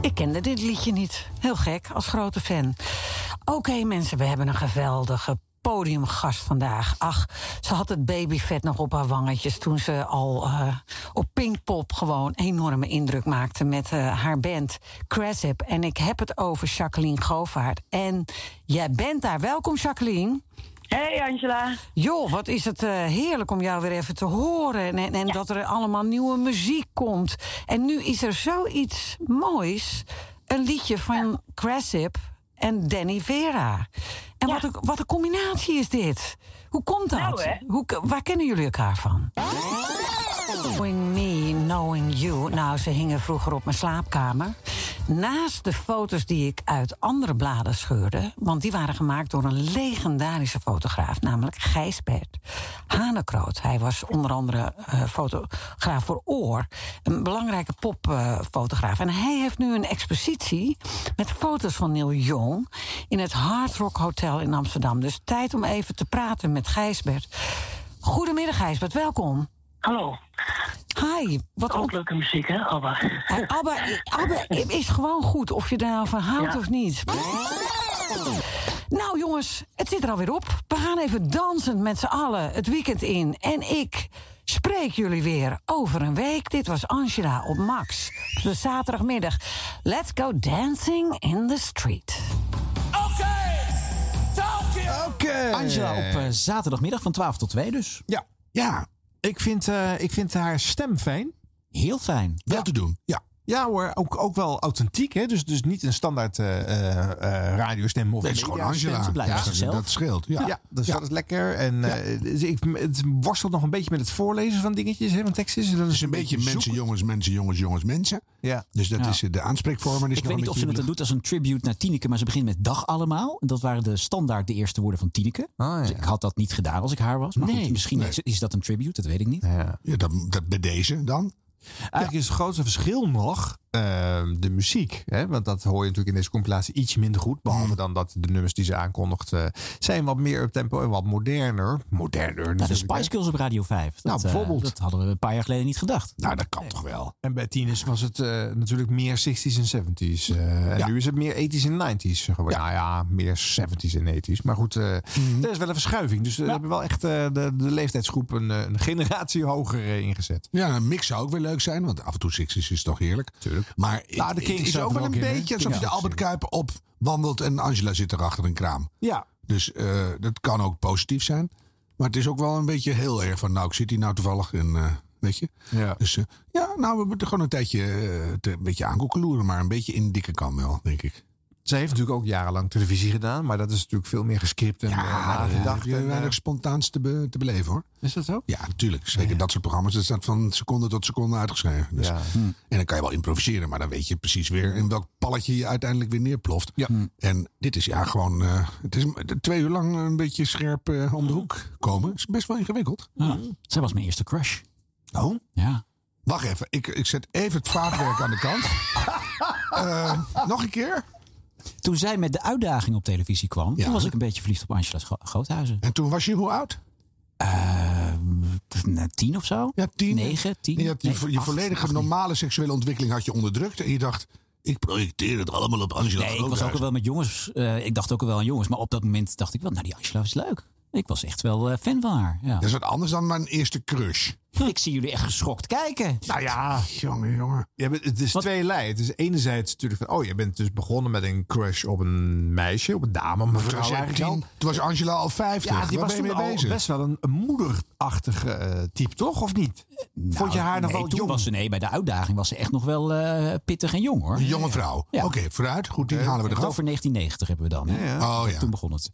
Speaker 20: Ik kende dit liedje niet. Heel gek, als grote fan. Oké mensen, we hebben een geweldige podiumgast vandaag. Ach, ze had het babyvet nog op haar wangetjes... toen ze al eh, op Pinkpop gewoon enorme indruk maakte... met eh, haar band Crasip. En ik heb het over Jacqueline Govaert. En jij bent daar. Welkom, Jacqueline.
Speaker 22: Hey Angela.
Speaker 20: Joh, wat is het eh, heerlijk om jou weer even te horen. En, en, en dat er allemaal nieuwe muziek komt. En nu is er zoiets moois. Een liedje van Cressip en Danny Vera. En wat, een, wat een combinatie is dit. Hoe komt dat?
Speaker 22: Nou, hè?
Speaker 20: Hoe, k- waar kennen jullie elkaar van? Knowing me, knowing you. Nou, ze hingen vroeger op mijn slaapkamer. Naast de foto's die ik uit andere bladen scheurde... want die waren gemaakt door een legendarische fotograaf... namelijk Gijsbert Hanekroot. Hij was onder andere eh, fotograaf voor Oor. Een belangrijke popfotograaf. en hij heeft nu een expositie met foto's van Neil Young... in het Hard Rock Hotel in Amsterdam. Dus tijd om even te praten met Gijsbert. Goedemiddag, Gijsbert. Welkom.
Speaker 22: Hallo.
Speaker 20: Hi. Wat
Speaker 22: Ook leuke muziek, hè, Abba?
Speaker 20: Hey, Eh, Abba, Abba is gewoon goed, of je daar nou van houdt
Speaker 22: Ja.
Speaker 20: of niet. Nou jongens, het zit er alweer op. We gaan even dansend met z'n allen het weekend in. En ik Spreek jullie weer over een week. Dit was Angela op Max. Op de zaterdagmiddag. Let's go dancing in the street.
Speaker 4: Oké.
Speaker 3: Angela op eh, zaterdagmiddag van 12 tot 2 dus.
Speaker 4: Ja. Ja, ik vind, eh, ik vind haar stem fijn.
Speaker 3: Heel fijn.
Speaker 4: Wel te doen. Ja. Ja hoor, ook, ook wel authentiek. Hè? Dus, dus niet een standaard eh, eh, eh, radiostem of
Speaker 1: Nee, het is gewoon
Speaker 4: mediastem.
Speaker 1: Angela. Ze blijft
Speaker 4: Ja,
Speaker 1: zichzelf. dat scheelt, ja.
Speaker 4: dus
Speaker 1: Ja.
Speaker 4: dat is lekker. En eh, dus ik het worstelt nog een beetje met het voorlezen van dingetjes. Hè? Want tekst is, dat is een
Speaker 1: beetje mensen,
Speaker 4: zoeken.
Speaker 1: jongens, mensen, jongens, jongens, mensen.
Speaker 4: Ja.
Speaker 1: Dus dat
Speaker 3: Ja.
Speaker 1: is eh, de aanspreekvorm. en is
Speaker 3: Ik weet
Speaker 1: nog
Speaker 3: niet
Speaker 1: een
Speaker 3: of ze
Speaker 1: beetje
Speaker 3: het doet als een tribute naar Tineke, maar ze begint met dag allemaal. Dat waren de standaard de eerste woorden van Tineke. Dus ik had dat niet gedaan als ik haar was. Maar goed, misschien is, is dat een tribute, dat weet ik niet.
Speaker 1: Ja, dat, dat bij deze dan.
Speaker 4: Eigenlijk is het grootste verschil nog eh, de muziek. Hè? Want dat hoor je natuurlijk in deze compilatie iets minder goed. Behalve
Speaker 1: Hmm.
Speaker 4: dan dat de nummers die ze aankondigt eh, zijn wat meer op tempo en wat moderner. Moderner.
Speaker 3: Nou, de
Speaker 4: natuurlijk, hè.
Speaker 3: Spice Girls op Radio 5. Dat,
Speaker 4: Nou,
Speaker 3: eh,
Speaker 4: bijvoorbeeld.
Speaker 3: dat hadden we een paar jaar geleden niet gedacht.
Speaker 1: Nou, dat kan toch wel.
Speaker 4: En bij tieners was het eh, natuurlijk meer 60s en 70s. eh, en nu is het meer 80s en 90s geworden. Nou ja, meer 70s en 80s. Maar goed, eh,
Speaker 1: Mhm.
Speaker 4: er is wel een verschuiving. Dus eh, we hebben wel echt eh, de, de leeftijdsgroep een, eh, een generatie hoger eh, ingezet.
Speaker 1: Ja, een mix zou ook weer leuk zijn, want af en toe Sixties is toch heerlijk.
Speaker 4: Tuurlijk.
Speaker 1: Maar het-
Speaker 4: Nou, de Kings
Speaker 1: het is
Speaker 4: zaten
Speaker 1: ook wel
Speaker 4: er
Speaker 1: een
Speaker 4: ook in, hè?
Speaker 1: beetje alsof je
Speaker 4: Kings
Speaker 1: de Albert Kuip op wandelt en Angela zit er achter een kraam.
Speaker 4: Ja.
Speaker 1: Dus eh, dat kan ook positief zijn. Maar het is ook wel een beetje heel erg van, nou, ik zit hier nou toevallig en eh, weet je.
Speaker 4: Ja.
Speaker 1: Dus eh, ja, nou, we moeten gewoon een tijdje eh, te- een beetje aankoekeloeren, maar een beetje in de dikke kan wel, denk ik.
Speaker 4: Zij heeft natuurlijk ook jarenlang televisie gedaan. Maar dat is natuurlijk veel meer gescript en eh,
Speaker 1: Ja, dat
Speaker 4: nagedacht.
Speaker 1: Ah, heb je
Speaker 4: en, eh,
Speaker 1: weinig spontaans te, be- te beleven hoor.
Speaker 4: Is dat zo?
Speaker 1: Ja, natuurlijk. Zeker dat soort programma's. Dat staat van seconde tot seconde uitgeschreven. Dus,
Speaker 4: Hm.
Speaker 1: En dan kan je wel improviseren, maar dan weet je precies weer in welk palletje je uiteindelijk weer neerploft.
Speaker 4: Hm.
Speaker 1: En dit is ja gewoon. eh, het is een- twee uur lang een beetje scherp eh, om de hoek komen. Is best wel ingewikkeld.
Speaker 3: Ja. Hm. Zij was mijn eerste crush.
Speaker 1: Oh?
Speaker 3: Ja.
Speaker 1: Wacht even. Ik, ik zet even het vaatwerk aan de kant. Eh, nog een keer.
Speaker 3: Toen zij met de uitdaging op televisie kwam, toen was ik een beetje verliefd op Angela Scho- Groothuizen. Eh,
Speaker 1: En toen was je hoe oud?
Speaker 3: tien of zo?
Speaker 1: Ja, tien.
Speaker 3: Negen, tien.
Speaker 1: Je, had je,
Speaker 3: Nee,
Speaker 1: vo- je
Speaker 3: acht,
Speaker 1: volledige
Speaker 3: acht,
Speaker 1: normale seksuele ontwikkeling had je onderdrukt. En je dacht, ik projecteer het allemaal op Angela
Speaker 3: Nee, ik was ook
Speaker 1: Groothuis.
Speaker 3: al wel met jongens. eh, ik dacht ook al wel aan jongens. Maar op dat moment dacht ik wel, nou die Angela is leuk. Ik was echt wel eh, fan van haar. Ja.
Speaker 1: Dat is wat anders dan mijn eerste crush.
Speaker 3: Ik zie jullie echt geschokt kijken.
Speaker 1: Nou ja, jongen, jongen.
Speaker 4: Ja, maar het is twee lijn. Het is enerzijds natuurlijk van... oh, je bent dus begonnen met een crush op een meisje, op een dame, een
Speaker 1: Toen
Speaker 4: mevrouw
Speaker 1: was, jij
Speaker 4: eigenlijk al.
Speaker 1: tien, toen was Angela al 50.
Speaker 4: Ja, die
Speaker 1: Waar
Speaker 4: was
Speaker 1: ben je
Speaker 4: toen
Speaker 1: mee
Speaker 4: al
Speaker 1: bezig?
Speaker 4: best wel een, een moederachtig eh, type, toch? Of niet? Vond je haar nog
Speaker 3: Eh, nou, nee,
Speaker 4: wel
Speaker 3: toen
Speaker 4: jong?
Speaker 3: Was ze, nee, bij de uitdaging was ze echt nog wel eh, pittig en jong hoor.
Speaker 1: Een jonge vrouw. Oké, vooruit. Goed, die halen we
Speaker 3: Het
Speaker 1: eraf.
Speaker 3: Over 1990 hebben we dan. hè?
Speaker 1: Ja. Oh, ja.
Speaker 3: Toen begon het.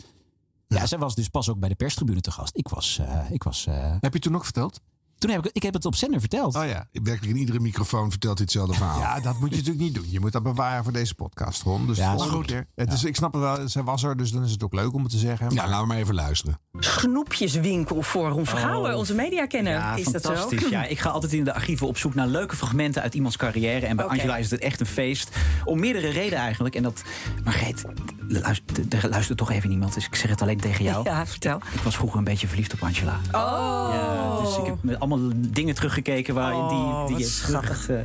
Speaker 3: Ja, zij was dus pas ook bij de perstribune te gast. Ik was... eh, ik was eh,
Speaker 4: Heb je toen ook verteld?
Speaker 3: toen heb ik, ik heb het op zender verteld.
Speaker 4: Oh ja.
Speaker 1: Werkelijk in iedere microfoon vertelt hij hetzelfde verhaal.
Speaker 4: Ja, dat moet je natuurlijk niet doen. Je moet dat bewaren voor deze podcast, Ron. Dus
Speaker 1: Ja,
Speaker 4: ja,
Speaker 1: dat is goed.
Speaker 4: Het is, ik snap het wel, ze was er, dus dan is het ook leuk om het te zeggen.
Speaker 1: Ja, laten we maar even luisteren.
Speaker 8: Snoepjeswinkel voor Ron Vergouwen,
Speaker 9: Oh.
Speaker 8: onze mediakenner.
Speaker 9: Ja,
Speaker 8: is dat zo?
Speaker 9: fantastisch. Ja, ik ga altijd in de archieven op zoek naar leuke fragmenten uit iemands carrière. En bij
Speaker 8: Oké.
Speaker 9: Angela is het echt een feest. Om meerdere redenen eigenlijk. En dat, Margreet, luister, luister toch even niemand. Dus ik zeg het alleen tegen jou.
Speaker 8: Ja, vertel.
Speaker 9: Ik was vroeger een beetje verliefd op Angela.
Speaker 8: Oh,
Speaker 9: Ja, dus ik heb met allemaal dingen teruggekeken waarin
Speaker 8: Oh,
Speaker 9: die... die je terug, eh,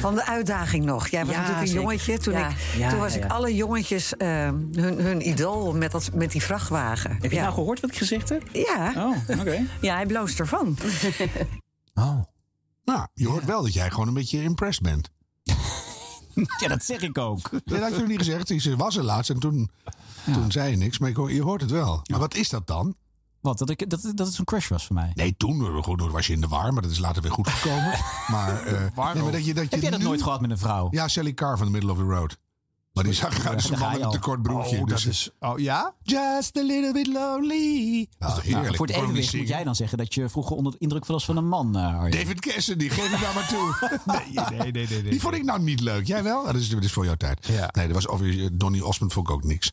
Speaker 20: Van de uitdaging nog. Jij was
Speaker 9: Ja,
Speaker 20: natuurlijk een
Speaker 9: zeker.
Speaker 20: jongetje. Toen,
Speaker 9: Ja.
Speaker 20: ik,
Speaker 9: Ja,
Speaker 20: toen was
Speaker 9: ja,
Speaker 20: ik
Speaker 9: ja.
Speaker 20: alle jongetjes eh, hun, hun idool met, dat, met die vrachtwagen. Heb
Speaker 9: je nou gehoord wat ik gezegd heb?
Speaker 20: Ja.
Speaker 9: Oh, oké.
Speaker 20: Ja, hij bloost ervan.
Speaker 1: Nou, je hoort wel dat jij gewoon een beetje impressed bent.
Speaker 9: eh.
Speaker 3: Ja, dat zeg ik ook.
Speaker 1: Dat had je nog niet gezegd. Ze was er laatst en toen, toen zei je niks. Maar ik hoor- je hoort het wel. Maar wat is dat dan?
Speaker 3: Wat? Dat, ik, dat, dat het zo'n crash was voor mij?
Speaker 1: Nee, toen, eh, goed, toen was je in de war. Maar dat is later weer goed gekomen. maar, eh, nee, maar dat je, dat je
Speaker 3: heb jij dat
Speaker 1: nu-
Speaker 3: nooit gehad met een vrouw?
Speaker 1: Ja, Sally Carr van The Middle of the Road. Maar die zag
Speaker 3: Ja,
Speaker 1: uit zijn
Speaker 3: daar
Speaker 1: man
Speaker 3: ga
Speaker 1: in
Speaker 3: je
Speaker 1: een
Speaker 3: al.
Speaker 1: tekort broekje.
Speaker 4: Oh, dat
Speaker 1: dus,
Speaker 4: is... Oh, ja?
Speaker 1: Just a little bit lonely. Ah, heerlijk.
Speaker 3: Nou, voor het
Speaker 1: Waarom niet
Speaker 3: evenwicht moet
Speaker 1: zingen?
Speaker 3: jij dan zeggen dat je vroeger onder de indruk was van een man, eh, Arjen.
Speaker 1: David Cassidy, geef het nou maar toe. Nee,
Speaker 4: nee, nee, nee,
Speaker 1: Die vond ik nou niet leuk. Jij wel? Ah, dat, is, dat is voor jouw tijd. Nee, dat was over Donny Osmond vond ik ook niks.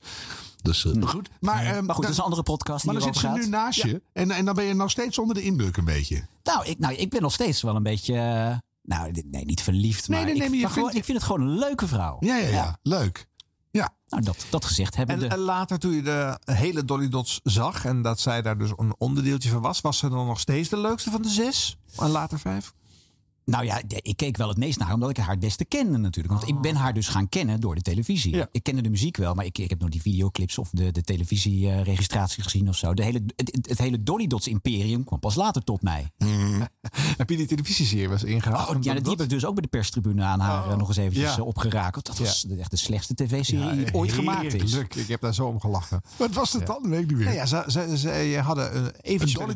Speaker 1: Dus eh, maar goed. Maar, ehm,
Speaker 3: maar Nou, goed, dat is een andere podcast die
Speaker 1: Maar dan zit ze
Speaker 3: hierover
Speaker 1: nu
Speaker 3: gaat.
Speaker 1: naast
Speaker 3: Ja.
Speaker 1: je. En, en dan ben je nog steeds onder de indruk een beetje.
Speaker 3: Nou ik, nou, ik ben nog steeds wel een beetje... eh, nou, dit- nee, niet verliefd,
Speaker 1: Nee,
Speaker 3: maar,
Speaker 1: nee,
Speaker 3: ik,
Speaker 1: nee, maar je
Speaker 3: maar gewoon-
Speaker 1: vindt-
Speaker 3: ik vind het gewoon een leuke vrouw.
Speaker 1: Ja, ja, ja. Leuk. Ja.
Speaker 3: Nou, dat, dat gezegd hebben
Speaker 4: En, en
Speaker 3: de...
Speaker 4: later, toen je de hele Dolly Dots zag en dat zij daar dus een onderdeeltje van was, was ze dan nog steeds de leukste van de zes? En later vijf?
Speaker 3: Nou ja, de- ik keek wel het meest naar haar, omdat ik haar het beste kende natuurlijk. Want ik ben haar dus gaan kennen door de televisie. Ik kende de muziek wel, maar ik, ik heb nog die videoclips of de, de televisieregistratie gezien of zo. De hele, het, het- het hele Dolly Dots imperium kwam pas later tot mij.
Speaker 4: Mm. Heb je die televisieserie wel eens ingehaald? Oh,
Speaker 3: Oh, ja, die heb ik dus ook bij de perstribune aan haar eh, nog eens eventjes
Speaker 4: Ja.
Speaker 3: eh, opgerakeld. Dat was echt de slechtste tv-serie
Speaker 4: Ja,
Speaker 3: die ooit gemaakt is.
Speaker 4: heerlijk. Ik heb daar zo om gelachen.
Speaker 1: Wat was het
Speaker 4: Ja.
Speaker 1: dan? Weet ik niet meer.
Speaker 4: Nou ja, ze, ze, ze hadden eh, een
Speaker 1: Een
Speaker 4: eventuele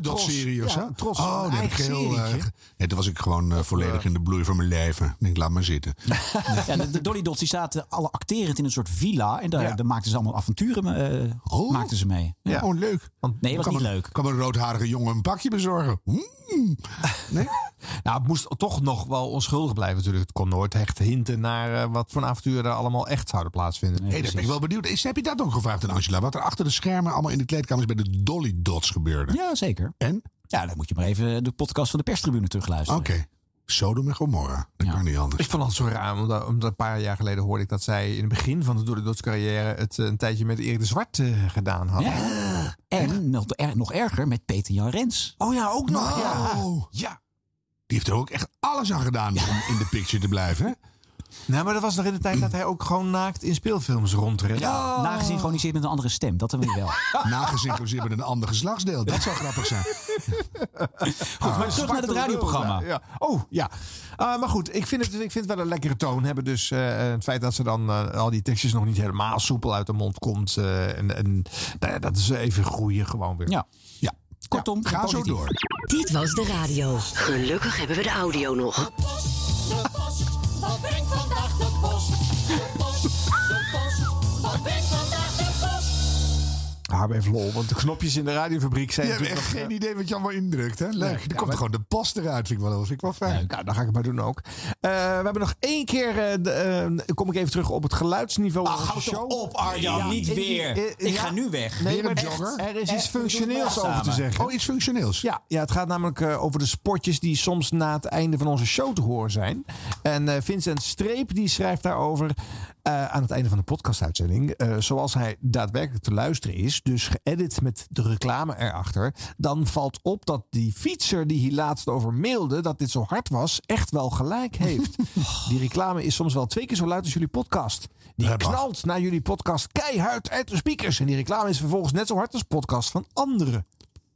Speaker 1: Dolly Dot
Speaker 4: Tros.
Speaker 1: serie of
Speaker 4: Ja,
Speaker 1: zo?
Speaker 4: Tros,
Speaker 1: oh,
Speaker 4: een
Speaker 1: dat heb ik
Speaker 4: eigen
Speaker 1: heel... eh,
Speaker 4: serietje.
Speaker 1: ge- nee, toen was ik gewoon eh, volledig in de bloei van mijn leven. Ik denk, laat maar zitten.
Speaker 3: Ja, de, de Dolly Dots die zaten alle acterend in een soort villa. En daar, daar maakten ze allemaal avonturen eh, maakten ze mee.
Speaker 1: Ja. Oh, leuk.
Speaker 3: nee, was
Speaker 1: Kan
Speaker 3: niet
Speaker 1: een-
Speaker 3: leuk.
Speaker 1: Kan een roodharige jongen een pakje bezorgen? Mm.
Speaker 4: Nou, het moest toch nog wel onschuldig blijven natuurlijk. Het kon nooit echt hinten naar eh, wat voor avonturen er allemaal echt zouden plaatsvinden.
Speaker 1: Hey, daar ben ik wel benieuwd. Is, heb je dat ook gevraagd aan Angela? Wat er achter de schermen allemaal in de kleedkamers bij de Dolly Dots gebeurde?
Speaker 3: Ja, zeker.
Speaker 1: En?
Speaker 3: Ja, dan moet je maar even de podcast van de perstribune terugluisteren.
Speaker 1: Oké. Sodom en Gomorra. Dat kan niet anders.
Speaker 4: Ik vond het zo raar, omdat, omdat een paar jaar geleden hoorde ik dat zij in het begin van de Door de Dots carrière het eh, een tijdje met Erik de Zwart eh, gedaan had.
Speaker 3: Ja. En nog, er- nog erger met Peter Jan Rens.
Speaker 4: Oh ja, ook nog.
Speaker 1: Ja.
Speaker 4: ja.
Speaker 1: Die heeft er ook echt alles aan gedaan om in de picture te blijven. hè?
Speaker 4: Nou, maar dat was nog in de tijd dat hij ook gewoon naakt in speelfilms rondreed. Oh.
Speaker 1: Ja,
Speaker 3: nagesynchroniseerd met een andere stem. Dat hebben we wel.
Speaker 1: Nagesynchroniseerd met een ander geslachtsdeel. Dat zou grappig zijn.
Speaker 4: Goed,
Speaker 1: maar terug naar het radioprogramma.
Speaker 4: Ja. Oh, ja. Eh, maar goed, ik vind, het, ik vind het wel een lekkere toon hebben. Dus eh, het feit dat ze dan eh, al die tekstjes nog niet helemaal soepel uit de mond komt. eh, en en nou ja, dat is even groeien gewoon weer.
Speaker 3: Ja.
Speaker 1: ja.
Speaker 4: Kortom, ga zo door.
Speaker 7: Dit was de radio.
Speaker 2: Gelukkig hebben we de audio nog.
Speaker 17: De post, wat brengt vandaag de post? De post, de post, wat brengt vandaag de post?
Speaker 4: Haar even lol, want de knopjes in de radiofabriek zijn...
Speaker 1: Je hebt echt
Speaker 4: natuurlijk nog,
Speaker 1: geen idee wat je allemaal indrukt, hè? Leuk.
Speaker 4: Nee,
Speaker 3: nou,
Speaker 1: Dan
Speaker 4: ja,
Speaker 1: komt
Speaker 4: maar-
Speaker 1: gewoon de post eruit, vind ik wel, vind ik wel fijn.
Speaker 4: Nou, dan ga ik het maar doen ook. Eh, we hebben nog één keer. eh, de, eh, kom ik even terug op het geluidsniveau. van de
Speaker 3: Ah, houd toch
Speaker 4: show. Eh,
Speaker 3: op, Arjan, niet weer. Ik ga nu weg.
Speaker 4: Nee,
Speaker 3: Weer
Speaker 4: maar
Speaker 3: een
Speaker 4: echt,
Speaker 3: jogger?
Speaker 4: er is
Speaker 3: Echt,
Speaker 4: iets
Speaker 3: we doen
Speaker 4: functioneels
Speaker 3: het
Speaker 4: over te
Speaker 3: samen.
Speaker 4: zeggen.
Speaker 1: Oh, iets functioneels?
Speaker 4: Ja, ja het gaat namelijk eh, over de sportjes die soms na het einde van onze show te horen zijn. En eh, Vincent Streep die schrijft daarover eh, aan het einde van de podcastuitzending. eh, zoals hij daadwerkelijk te luisteren is, dus geëdit met de reclame erachter. Dan valt op dat die fietser die hier laatst over mailde dat dit zo hard was, echt wel gelijk heeft.
Speaker 1: Oh.
Speaker 4: die reclame is soms wel twee keer zo luid als jullie podcast. Die knalt naar jullie podcast keihard uit de speakers. En die reclame is vervolgens net zo hard als podcast van anderen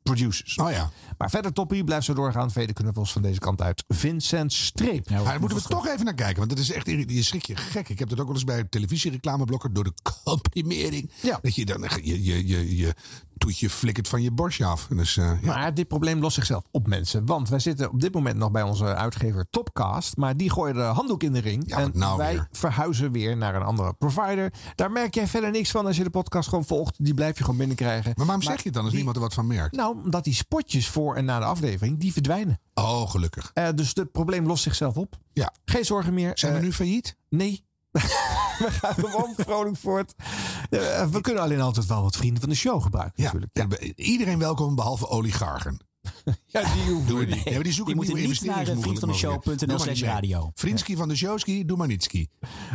Speaker 4: producers.
Speaker 1: Oh ja.
Speaker 4: Maar verder toppie, blijf zo doorgaan. Vele knuffels van deze kant uit. Vincent Streep.
Speaker 1: Maar daar moeten we toch even naar kijken, want dat is echt, irri- je schrik je gek. Ik heb dat ook wel eens bij televisiereclameblokken door de comprimering. Dat je dan echt- je, je, je, je toetje flikkert van je borstje af. Dus, eh, ja.
Speaker 4: Maar dit probleem lost zichzelf op, mensen. Want wij zitten op dit moment nog bij onze uitgever Topcast. Maar die gooien de handdoek in de ring. en
Speaker 1: nou
Speaker 4: wij
Speaker 1: weer.
Speaker 4: verhuizen weer naar een andere provider. Daar merk jij verder niks van als je de podcast gewoon volgt. Die blijf je gewoon binnenkrijgen.
Speaker 1: Maar waarom zeg je het dan als niemand er wat van merkt?
Speaker 4: Nou, omdat die spotjes voor en na de aflevering, die verdwijnen.
Speaker 1: Oh, gelukkig.
Speaker 4: Eh, dus het probleem lost zichzelf op.
Speaker 1: Ja.
Speaker 4: Geen zorgen meer. Zijn we
Speaker 1: nu failliet?
Speaker 4: Nee. we gaan gewoon vrolijk voort. Eh, we kunnen alleen altijd wel wat vrienden van de show gebruiken.
Speaker 1: Ja, ja, iedereen welkom behoeven behalve oligarchen.
Speaker 4: ja, die hoeven
Speaker 1: we niet. Ja, maar die zoeken
Speaker 3: die
Speaker 1: nieuwe
Speaker 3: moeten niet naar, eh,
Speaker 1: investeringsmogelijkheden.
Speaker 3: vriendvandeshow.nl
Speaker 1: Doe maar niet,
Speaker 3: slash radio.
Speaker 1: nee. Vriendski van de Showski, doe maar nietski.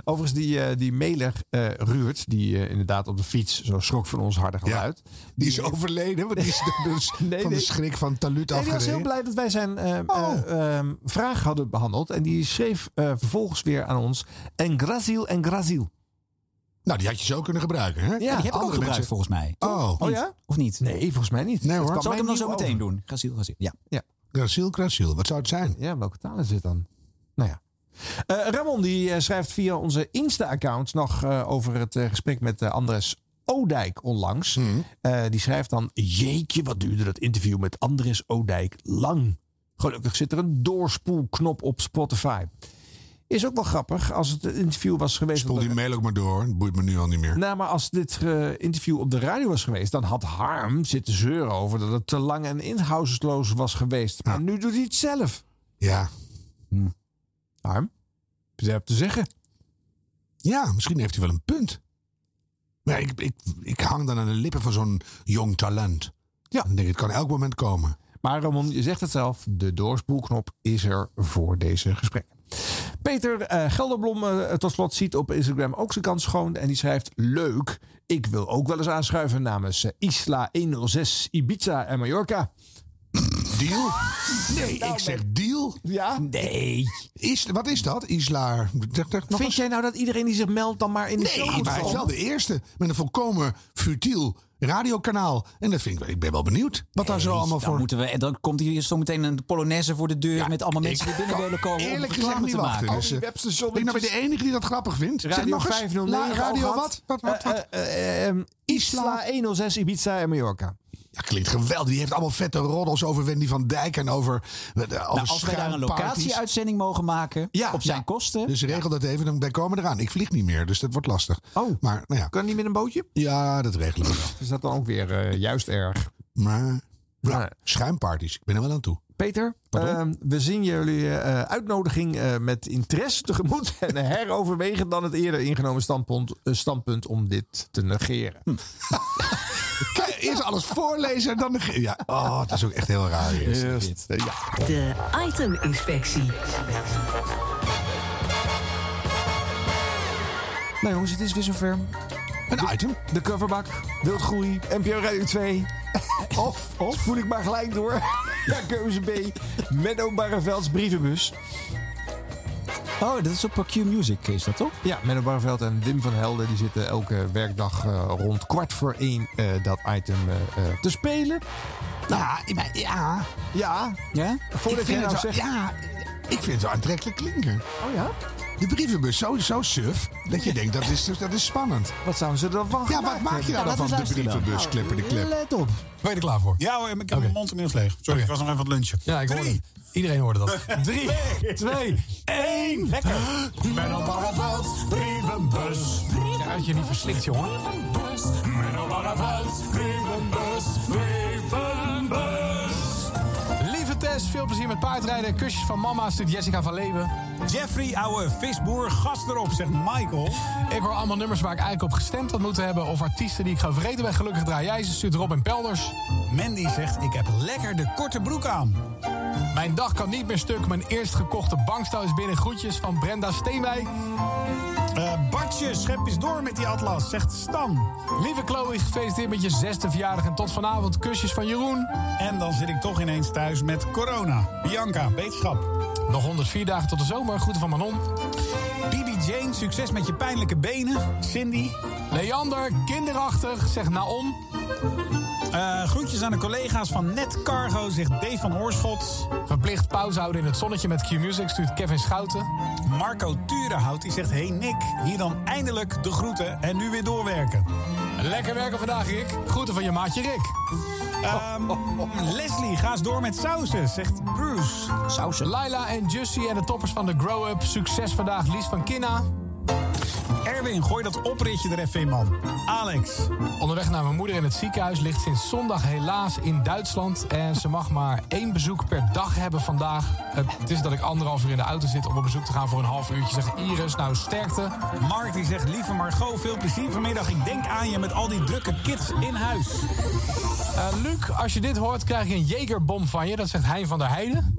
Speaker 4: Overigens, die, eh, die mailer eh, Ruurt, die eh, inderdaad op de fiets zo schrok van ons harde geluid.
Speaker 1: Die is overleden, want die is dus van de
Speaker 4: nee.
Speaker 1: schrik van Talut
Speaker 4: Nee, die was heel
Speaker 1: afgereden. Oh.
Speaker 4: blij dat wij zijn eh, eh, ehm, vraag hadden behandeld. En die schreef eh, vervolgens weer aan ons. En Grazil en Grazil.
Speaker 1: Nou, die had je zo kunnen gebruiken, hè? Ja,
Speaker 4: die heb ik ook gebruikt,
Speaker 3: volgens mij.
Speaker 1: Oh.
Speaker 4: Oh ja?
Speaker 3: Of niet?
Speaker 4: Nee, volgens mij niet.
Speaker 1: Nee, hoor.
Speaker 4: Het kwam
Speaker 1: Zal ik
Speaker 4: mij
Speaker 1: hem dan
Speaker 4: nieuw
Speaker 1: zo meteen
Speaker 4: over.
Speaker 3: doen? Graziel, Graziel. Ja.
Speaker 4: Ja.
Speaker 1: Graziel, Graziel. Wat zou het zijn?
Speaker 4: Ja, welke taal is dit dan? Nou ja. Eh, Ramon die eh, schrijft via onze Insta-account nog eh, over het eh, gesprek met eh, Andres Odijk onlangs.
Speaker 1: Mhm.
Speaker 4: Eh, die schrijft dan: Jeetje, wat duurde dat interview met Andres Odijk lang? Gelukkig zit er een doorspoelknop op Spotify. Is ook wel grappig als het een interview was geweest.
Speaker 1: Spoel die mail ook maar door, dat boeit me nu al niet meer.
Speaker 4: Nou, maar als dit eh, interview op de radio was geweest, dan had Harm zitten zeuren over dat het te lang en inhoudsloos was geweest. Maar nu doet hij het zelf.
Speaker 1: Ja.
Speaker 4: Harm, je hebt te zeggen.
Speaker 1: Ja, misschien heeft hij wel een punt. Maar ik, ik, ik hang dan aan de lippen van zo'n jong talent.
Speaker 4: Ja.
Speaker 1: Ik denk, het kan elk moment komen.
Speaker 4: Maar Ramon, je zegt het zelf, de doorspoelknop is er voor deze gesprekken. Peter eh, Gelderblom eh, tot slot ziet op Instagram ook zijn kans schoon. En die schrijft, leuk, ik wil ook wel eens aanschuiven namens eh, Isla 106, Ibiza en Mallorca.
Speaker 1: Deal? Nee, ik zeg deal. Wil?
Speaker 4: Ja?
Speaker 3: Nee.
Speaker 1: Is, wat is dat? Islaar?
Speaker 4: Vind jij nou dat iedereen die zich meldt dan maar in de show
Speaker 1: Nee,
Speaker 4: moet
Speaker 1: maar hij is wel
Speaker 4: komen?
Speaker 1: de eerste. Met een volkomen futiel radiokanaal. En dat vind ik, ik ben wel benieuwd. Wat daar zo allemaal
Speaker 3: dan
Speaker 1: voor...
Speaker 3: Moeten we, en dan komt hier zo meteen een Polonaise voor de deur met allemaal mensen die binnen
Speaker 1: kan
Speaker 3: willen komen. om
Speaker 1: Eerlijk gezegd
Speaker 3: reclame
Speaker 1: niet
Speaker 3: te
Speaker 1: wachten.
Speaker 3: maken.
Speaker 1: Dus, eh, ben ik nou weer de enige die dat grappig vindt? zeg
Speaker 4: Radio
Speaker 1: nog eens.
Speaker 4: 509.
Speaker 1: La- radio
Speaker 4: al
Speaker 1: wat? Wat, wat,
Speaker 4: gehad.
Speaker 1: wat?
Speaker 4: Eh, eh, eh, ehm, Isla 106, Ibiza en Mallorca.
Speaker 1: Ja, klinkt geweldig. Die heeft allemaal vette roddels over Wendy van Dijk en over. eh, over
Speaker 3: Nou, als wij daar een
Speaker 1: schuimparties.
Speaker 3: locatieuitzending mogen maken op zijn kosten.
Speaker 1: Dus regel dat even, dan wij komen eraan. Ik vlieg niet meer, dus dat wordt lastig. Oh, maar, nou ja.
Speaker 4: Kan niet met een bootje?
Speaker 1: Ja, dat regelen we wel.
Speaker 4: Is dat dan ook weer eh, juist erg?
Speaker 1: Maar, ja, schuimparties. Ik ben er wel aan toe.
Speaker 4: Peter, ehm, we zien jullie eh, uitnodiging eh, met interesse tegemoet en heroverwegen dan het eerder ingenomen standpunt, eh, standpunt om dit te negeren.
Speaker 1: Kan je Hm. eerst alles voorlezen en dan de. ge- Ja, oh, dat is ook echt heel raar. Eerst. Ja.
Speaker 2: De iteminspectie.
Speaker 4: Nou jongens, het is weer zover.
Speaker 1: Een item.
Speaker 4: De coverbak, wildgroei, NPO Radio 2. of, of voel ik maar gelijk door naar keuze B. Menno Barrevelds brievenbus.
Speaker 3: Oh, dat is op Q Music, is dat toch?
Speaker 4: Ja, Menno Barreveld en Wim van Helden die zitten elke werkdag eh, rond kwart voor één eh, dat item eh, eh, te spelen. Nou,
Speaker 1: Ja, maar ja.
Speaker 4: Ja?
Speaker 3: Ja?
Speaker 1: ik
Speaker 4: Voordat jij
Speaker 1: vind
Speaker 4: nou
Speaker 1: het zo,
Speaker 4: zegt...
Speaker 1: ja, ik vind het zo aantrekkelijk klinken.
Speaker 4: Oh ja?
Speaker 1: De brievenbus, zo, zo suf, dat je denkt, dat is, dus- dat is spannend.
Speaker 4: Wat zouden ze er van
Speaker 1: Ja, wat maak je daar
Speaker 5: hebben?
Speaker 1: dan
Speaker 5: Nou, laten we
Speaker 1: van, de
Speaker 5: luisteren dan.
Speaker 1: brievenbus, klepper de klep?
Speaker 4: Let op.
Speaker 1: Ben je er klaar voor?
Speaker 5: Ja hoor, ik heb mijn mond inmiddels leeg. Sorry, ik was nog even aan het lunchen.
Speaker 19: Ja, ik hoorde
Speaker 5: Drie.
Speaker 19: het. Iedereen hoorde dat.
Speaker 5: Drie, twee, één. Lekker. Menno Barreveld, brievenbus.
Speaker 19: Ja, had je niet verslikt, jongen.
Speaker 5: Menno Barreveld, brievenbus, brievenbus.
Speaker 19: Lieve Tess, veel plezier met paardrijden. Kusjes van mama, stuurt Jessica van Leeuwen.
Speaker 5: Jeffrey, ouwe visboer, gast erop, zegt Michael.
Speaker 19: Ik hoor allemaal nummers waar ik eigenlijk op gestemd had moeten hebben... of artiesten die ik ga vergeten ben. Gelukkig draai jij ze, stuurt Rob en Pelders.
Speaker 5: Mandy zegt, ik heb lekker de korte broek aan.
Speaker 19: Mijn dag kan niet meer stuk. Mijn eerst gekochte bankstouw is binnen. Groetjes van Brenda Steenwijk.
Speaker 5: Eh, Bartje, schep eens door met die atlas, zegt Stan.
Speaker 19: Lieve Chloe, gefeliciteerd met je zesde verjaardag. En tot vanavond kusjes van Jeroen.
Speaker 5: En dan zit ik toch ineens thuis met corona. Bianca, beterschap.
Speaker 19: Nog 104 dagen tot de zomer. Groeten van Manon.
Speaker 5: Bibi Jane, succes met je pijnlijke benen. Cindy.
Speaker 19: Leander, kinderachtig, zegt Naon.
Speaker 5: Eh, groetjes aan de collega's van Net Cargo, zegt Dave van Oorschot.
Speaker 19: Verplicht pauze houden in het zonnetje met Q-Music, stuurt Kevin Schouten.
Speaker 5: Marco Turenhout, die zegt... Hey Nick, hier dan eindelijk de groeten en nu weer doorwerken.
Speaker 19: Lekker werken vandaag, Rick. Groeten van je maatje Rick.
Speaker 5: Ehm, Leslie, ga eens door met sausen, zegt Bruce.
Speaker 3: Sausen.
Speaker 19: Laila en Jussie en de toppers van de Grow Up. Succes vandaag, Lies van Kinna.
Speaker 5: Erwin, gooi dat opritje er even in, man. Alex.
Speaker 19: Onderweg naar mijn moeder in het ziekenhuis ligt sinds zondag helaas in Duitsland. En ze mag maar één bezoek per dag hebben vandaag. Het is dat ik anderhalf uur in de auto zit om op bezoek te gaan voor een half uurtje. Zegt Iris, nou sterkte.
Speaker 5: Mark die zegt, lieve Margot, veel plezier vanmiddag. Ik denk aan je met al die drukke kids in huis.
Speaker 19: Eh, Luc, als je dit hoort krijg ik een jegerbom van je. Dat zegt Hein van der Heijden.